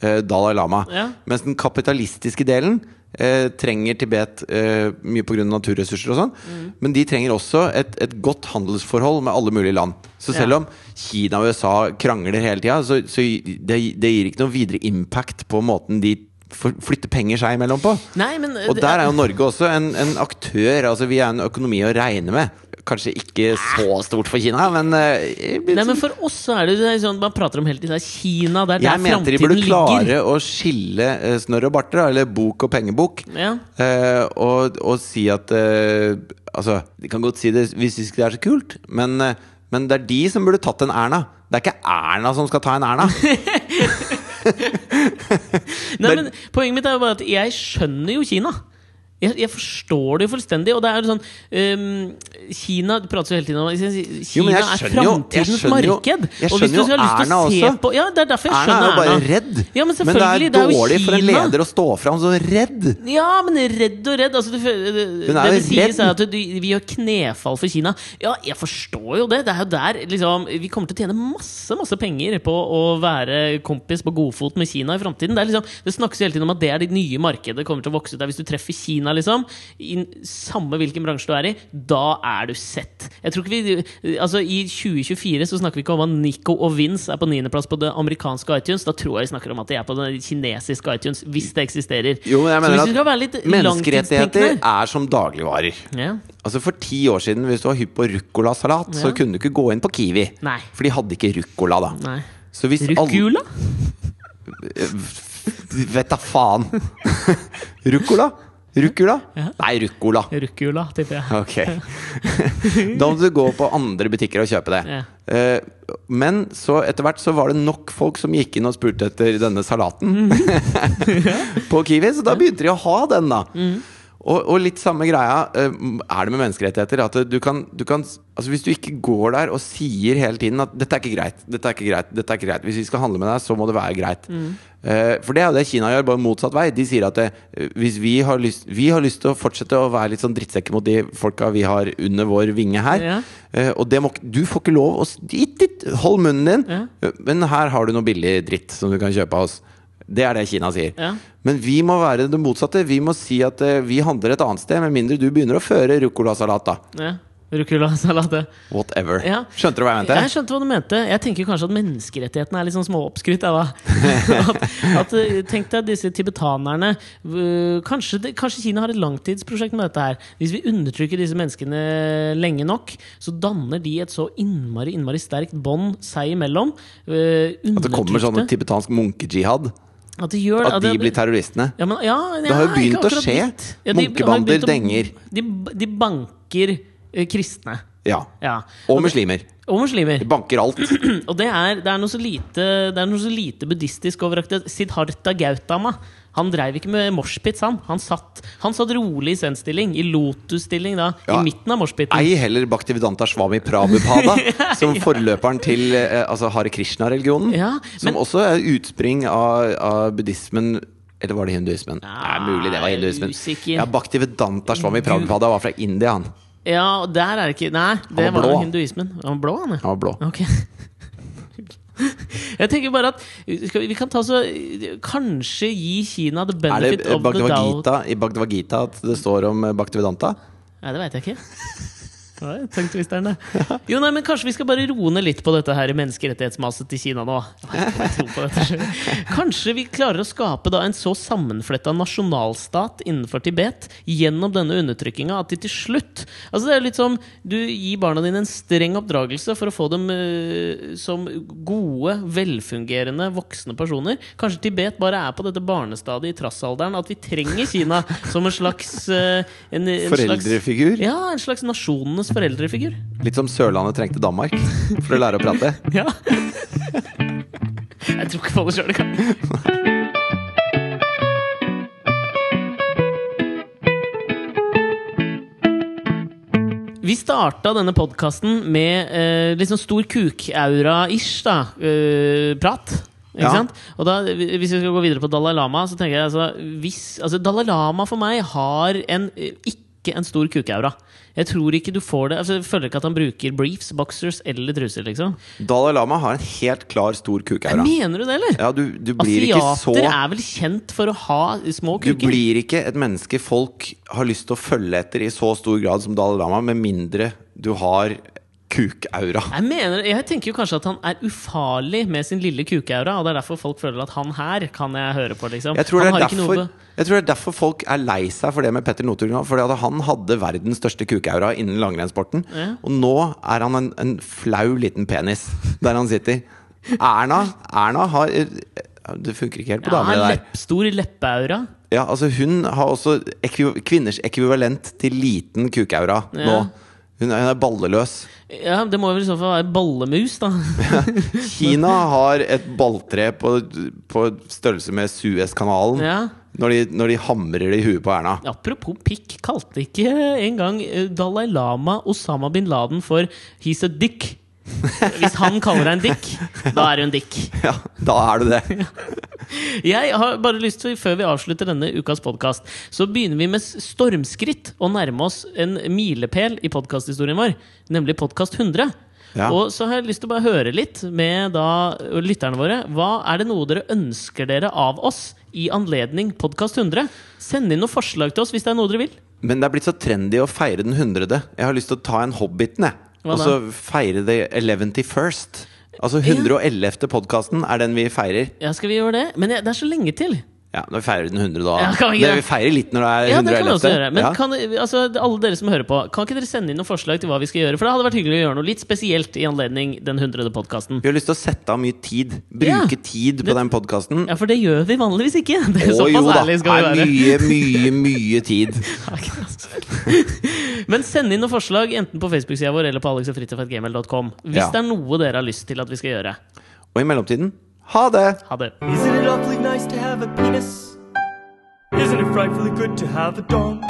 Speaker 1: eh, Dalai Lama.
Speaker 2: Ja.
Speaker 1: Mens den kapitalistiske delen eh, trenger Tibet eh, mye pga. naturressurser og sånn.
Speaker 2: Mm.
Speaker 1: Men de trenger også et, et godt handelsforhold med alle mulige land. Så selv
Speaker 2: Ja.
Speaker 1: om Kina og USA krangler hele tida, så, så det, det gir ikke noen videre impact på måten de for- flytter penger seg imellom på.
Speaker 2: Nei, men eh,
Speaker 1: Og der er jo Norge også en, en aktør. Altså Vi er en økonomi å regne med. Kanskje ikke så stort for Kina, men eh,
Speaker 2: Nei, men for oss så er det, jo- det er sånn, Man prater om hele tiden det er Kina, det er der
Speaker 1: jeg mente de burde
Speaker 2: framtiden
Speaker 1: klare
Speaker 2: ligger.
Speaker 1: å skille eh, snørr og barter, da, eller bok og pengebok.
Speaker 2: Ja.
Speaker 1: Eh, og, og si at eh, Altså, de kan godt si det hvis de ikke det er så kult, men, eh, men det er de som burde tatt en Erna. Det er ikke Erna som skal ta en Erna.
Speaker 2: Nei,
Speaker 1: Det-
Speaker 2: men Poenget mitt er jo bare at jeg skjønner jo Kina. Jeg, jeg forstår det jo fullstendig. Og det er jo sånn ehm, Kina det prates jo hele tiden om Kina
Speaker 1: Jo, men jeg
Speaker 2: er
Speaker 1: skjønner jo- jeg
Speaker 2: framtidens
Speaker 1: skjønner jo-
Speaker 2: marked.
Speaker 1: jeg
Speaker 2: og hvis
Speaker 1: skjønner
Speaker 2: du
Speaker 1: jo
Speaker 2: har lyst til å
Speaker 1: Erna
Speaker 2: se
Speaker 1: også.
Speaker 2: på Ja, det er derfor jeg
Speaker 1: Erna er jo
Speaker 2: skjønner
Speaker 1: bare
Speaker 2: Erna.
Speaker 1: redd.
Speaker 2: Ja, men
Speaker 1: det er
Speaker 2: selvfølgelig. det er jo
Speaker 1: dårlig for en
Speaker 2: Kina.
Speaker 1: leder å stå fram som redd.
Speaker 2: Ja, men redd og redd. Altså, du, fø- det
Speaker 1: Hun
Speaker 2: det
Speaker 1: er jo
Speaker 2: sies,
Speaker 1: redd.
Speaker 2: er at du, vi gjør knefall for Kina. Ja, jeg forstår jo det. Det er jo der liksom, Vi kommer til å tjene masse masse penger på å være kompis på godfot med Kina i framtiden. Det, er liksom, det snakkes hele tiden om at det er det nye markedet. Det kommer til å vokse ut der. Hvis du treffer Kina, liksom, i samme hvilken bransje du er i, da er du sett. Jeg tror ikke vi Altså, I 2024 så snakker vi ikke om at Nico og Vince er på niendeplass på det amerikanske iTunes. Da tror jeg vi snakker om at de er på det kinesiske iTunes, hvis det eksisterer.
Speaker 1: Jo, men jeg
Speaker 2: Så
Speaker 1: mener
Speaker 2: hvis vi skal være litt
Speaker 1: at menneskerettigheter
Speaker 2: langtidstenkende-
Speaker 1: er som dagligvarer.
Speaker 2: ja.
Speaker 1: Altså For ti år siden, hvis du var hypp på ruccolasalat, så
Speaker 2: Ja.
Speaker 1: kunne du ikke gå inn på Kiwi.
Speaker 2: Nei.
Speaker 1: For de hadde ikke ruccola da.
Speaker 2: Nei.
Speaker 1: Så hvis alle-
Speaker 2: Rucula?
Speaker 1: Vet da faen! ruccola? Ruccola? Nei, ruccola.
Speaker 2: Rucula, tipper jeg.
Speaker 1: Ok. da måtte du gå på andre butikker og kjøpe det.
Speaker 2: Ja.
Speaker 1: Eh, Men så etter hvert så var det nok folk som gikk inn og spurte etter denne salaten på Kiwi, så da begynte de å ha den, da. Og, og litt samme greia eh, er det med menneskerettigheter. At du kan, du kan Altså Hvis du ikke går der og sier hele tiden at 'dette er ikke greit', 'dette er ikke greit', dette er ikke greit Hvis vi skal handle med deg, så må det være greit. Eh, for det er jo det Kina gjør, bare motsatt vei. De sier at eh, hvis vi har, lyst, vi har lyst til å fortsette å være litt sånn drittsekker mot de folka vi har under vår vinge her.
Speaker 2: Ja.
Speaker 1: Eh, og det må, ikke- du får ikke lov å s- dit, dit, Hold munnen din!
Speaker 2: Ja.
Speaker 1: Eh, Men her har du noe billig dritt som du kan kjøpe av oss. Det er det Kina sier.
Speaker 2: Ja.
Speaker 1: Men vi må være det motsatte. Vi må si at eh, vi handler et annet sted, med mindre du begynner å føre ruccolasalat, da.
Speaker 2: Ja. Rucula-salat. ja.
Speaker 1: Whatever.
Speaker 2: Ja.
Speaker 1: Skjønte du hva jeg mente?
Speaker 2: Jeg skjønte hva du mente. Jeg tenker kanskje at menneskerettighetene er litt sånn småoppskrytt. jeg, da. At, at, eh, tenk deg disse tibetanerne. eh, Kanskje, det, kanskje Kina har et langtidsprosjekt med dette her. Hvis vi undertrykker disse menneskene lenge nok, så danner de et så innmari innmari sterkt bånd seg imellom.
Speaker 1: At det kommer sånn
Speaker 2: Undertrykte.
Speaker 1: tibetansk munkejihad?
Speaker 2: At, de gjør,
Speaker 1: At de
Speaker 2: det-
Speaker 1: blir terroristene?
Speaker 2: Ja, men, ja,
Speaker 1: Det har jo
Speaker 2: ja,
Speaker 1: begynt
Speaker 2: ikke
Speaker 1: å
Speaker 2: akkurat
Speaker 1: skje.
Speaker 2: blitt. Ja, de-
Speaker 1: Munkebander
Speaker 2: har jo begynt å-
Speaker 1: denger.
Speaker 2: De, de banker eh, kristne.
Speaker 1: Ja.
Speaker 2: Ja.
Speaker 1: Og muslimer.
Speaker 2: Og muslimer.
Speaker 1: De banker alt.
Speaker 2: Og det er, det, er noe så lite, det er noe så lite buddhistisk over akkurat Siddhartha Gautama. Han dreiv ikke med moshpits, han. Han satt, han satt rolig i zen-stilling, i lotus-stilling, da,
Speaker 1: Ja.
Speaker 2: i midten av moshpiten.
Speaker 1: Ei heller Bhaktivedanta Swami Prabhupada, som forløperen til eh, altså Hare Krishna-religionen.
Speaker 2: Ja,
Speaker 1: som
Speaker 2: men-
Speaker 1: også er utspring av, av buddhismen Eller var det hinduismen?
Speaker 2: Ja,
Speaker 1: Ja, mulig det var hinduismen.
Speaker 2: usikker.
Speaker 1: Ja, Bhaktivedanta Swami Prabhupada var fra India, han.
Speaker 2: Ja, og der er det ikke Nei, det
Speaker 1: var
Speaker 2: var
Speaker 1: blå.
Speaker 2: jo hinduismen. Han var blå, han, ja.
Speaker 1: Han var blå.
Speaker 2: Ok Jeg tenker bare at skal vi, vi kan ta så Kanskje gi Kina the
Speaker 1: Er det
Speaker 2: benefit
Speaker 1: eh,
Speaker 2: of the doubt
Speaker 1: Bhagavad-gita, i Bhagavad Gita at det står om eh, Bhaktivedanta?
Speaker 2: Nei, det veit jeg ikke. Det var tungtvisteren, det. Jo, nei, men Kanskje vi skal bare roe ned litt på dette her menneskerettighetsmaset til Kina nå. Jeg tror jeg tror på dette selv. Kanskje vi klarer å skape da en så sammenfletta nasjonalstat innenfor Tibet gjennom denne undertrykkinga at de til slutt Altså Det er litt som du gir barna dine en streng oppdragelse for å få dem eh, som gode, velfungerende voksne personer. Kanskje Tibet bare er på dette barnestadiet i trassalderen at vi trenger Kina som en slags eh, en, en slags,
Speaker 1: Foreldrefigur?
Speaker 2: ja, en slags nasjonenes foreldrefigur.
Speaker 1: Litt som Sørlandet trengte Danmark for å lære å prate.
Speaker 2: Ja. Jeg tror ikke på det sjøl engang. Vi starta denne podkasten med eh, litt sånn stor kukaura-ish da, eh, prat. Ikke
Speaker 1: Ja.
Speaker 2: sant? Og da, Hvis vi skal gå videre på Dalai Lama så tenker jeg altså, hvis, altså Dalai Lama for meg har en, eh, ikke en stor kukaura. Jeg tror ikke du får det altså, Jeg føler ikke at han bruker briefs, boxers eller truser. liksom
Speaker 1: Dalai Lama har en helt klar stor kukaura.
Speaker 2: Mener du det, eller?
Speaker 1: Ja, du, du blir ikke så
Speaker 2: Asiater er vel kjent for å ha små
Speaker 1: Du
Speaker 2: kuker?
Speaker 1: blir ikke et menneske folk har lyst til å følge etter i så stor grad som Dalai Lama, med mindre du har kukaura.
Speaker 2: Jeg, mener, jeg tenker jo kanskje at han er ufarlig med sin lille kukeaura, og det er derfor folk føler at han her kan jeg høre på, liksom.
Speaker 1: Jeg tror, det
Speaker 2: han
Speaker 1: er
Speaker 2: har ikke noe
Speaker 1: derfor,
Speaker 2: be-
Speaker 1: jeg tror det er derfor folk er lei seg for det med Petter Northug nå. Fordi at han hadde verdens største kukaura innen langrennssporten.
Speaker 2: Ja.
Speaker 1: Og nå er han en, en flau liten penis der han sitter. Erna, Erna har eh, Det funker ikke helt på
Speaker 2: ja,
Speaker 1: damer,
Speaker 2: han
Speaker 1: det
Speaker 2: har
Speaker 1: der.
Speaker 2: lepp, stor leppeaura.
Speaker 1: Ja, altså hun har også ekvi kvinners ekvivalent til liten kukaura
Speaker 2: Ja.
Speaker 1: nå. Hun er, hun er balleløs.
Speaker 2: Ja, Det må vel i så fall være ballemus, da.
Speaker 1: Kina har et balltre på, på størrelse med Suezkanalen
Speaker 2: Ja.
Speaker 1: når, de, når de hamrer det i huet på Erna.
Speaker 2: Apropos pikk, kalte ikke engang eh, Dalai Lama Osama bin Laden for 'he's a dick'? Hvis han kaller deg en dick, da er du en dick.
Speaker 1: Ja, da er du det.
Speaker 2: Jeg har bare lyst til, Før vi avslutter denne ukas podkast, så begynner vi med stormskritt å nærme oss en milepæl i podkasthistorien vår, nemlig podkast 100.
Speaker 1: Ja.
Speaker 2: Og så har jeg lyst til å bare høre litt med da lytterne våre. Hva er det noe dere ønsker dere av oss i anledning podkast 100? Send inn noen forslag til oss hvis det er noe dere vil.
Speaker 1: Men det er blitt så trendy å feire den hundrede. Jeg har lyst til å ta en Hobbiten, jeg.
Speaker 2: Hva
Speaker 1: Og
Speaker 2: da?
Speaker 1: så feire det 11. first. Altså 111. podkasten er den vi feirer.
Speaker 2: Ja, skal vi gjøre det? Men jeg, det er så lenge til.
Speaker 1: Ja, når vi feirer den 100 da.
Speaker 2: Ja, kan vi ikke
Speaker 1: det
Speaker 2: det?
Speaker 1: vi feirer litt når det
Speaker 2: Ja,
Speaker 1: er 111.
Speaker 2: det kan vi også gjøre. Men
Speaker 1: Ja.
Speaker 2: kan, altså, alle dere som hører på, kan ikke dere sende inn noen forslag til hva vi skal gjøre? For det hadde vært hyggelig å gjøre noe litt spesielt i anledning den 100. podkasten.
Speaker 1: Vi har lyst til å sette av mye tid.
Speaker 2: Ja.
Speaker 1: Bruke tid på den podkasten.
Speaker 2: Ja, for det gjør vi vanligvis ikke. Det er
Speaker 1: Å jo
Speaker 2: såpass
Speaker 1: da,
Speaker 2: ærlig skal vi
Speaker 1: er
Speaker 2: være.
Speaker 1: mye, mye, mye tid.
Speaker 2: Men send inn noen forslag enten på Facebook-sida vår eller på alexogfritidfatgmail.com hvis
Speaker 1: Ja.
Speaker 2: det er noe dere har lyst til at vi skal gjøre.
Speaker 1: Og i mellomtiden ha det!
Speaker 2: Ha det.
Speaker 5: Isn't it awfully nice to have a penis? Isn't it frightfully good to have a dong?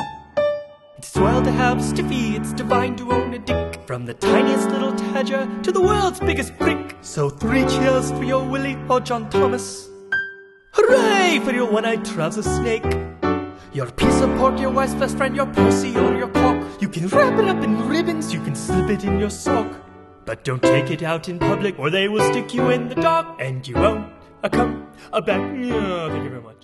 Speaker 5: It's swell to have a stiffy, it's divine to own a dick. From the tiniest little tadger to the world's biggest prick. So three cheers for your Willie or John Thomas. Hooray for your one-eyed trouser snake. Your piece of pork, your wife's best friend, your pussy or your cock. You can wrap it up in ribbons, you can slip it in your sock. But don't take it out in public or they will stick you in the dock. And you won't a come a back. Yeah, thank you very much.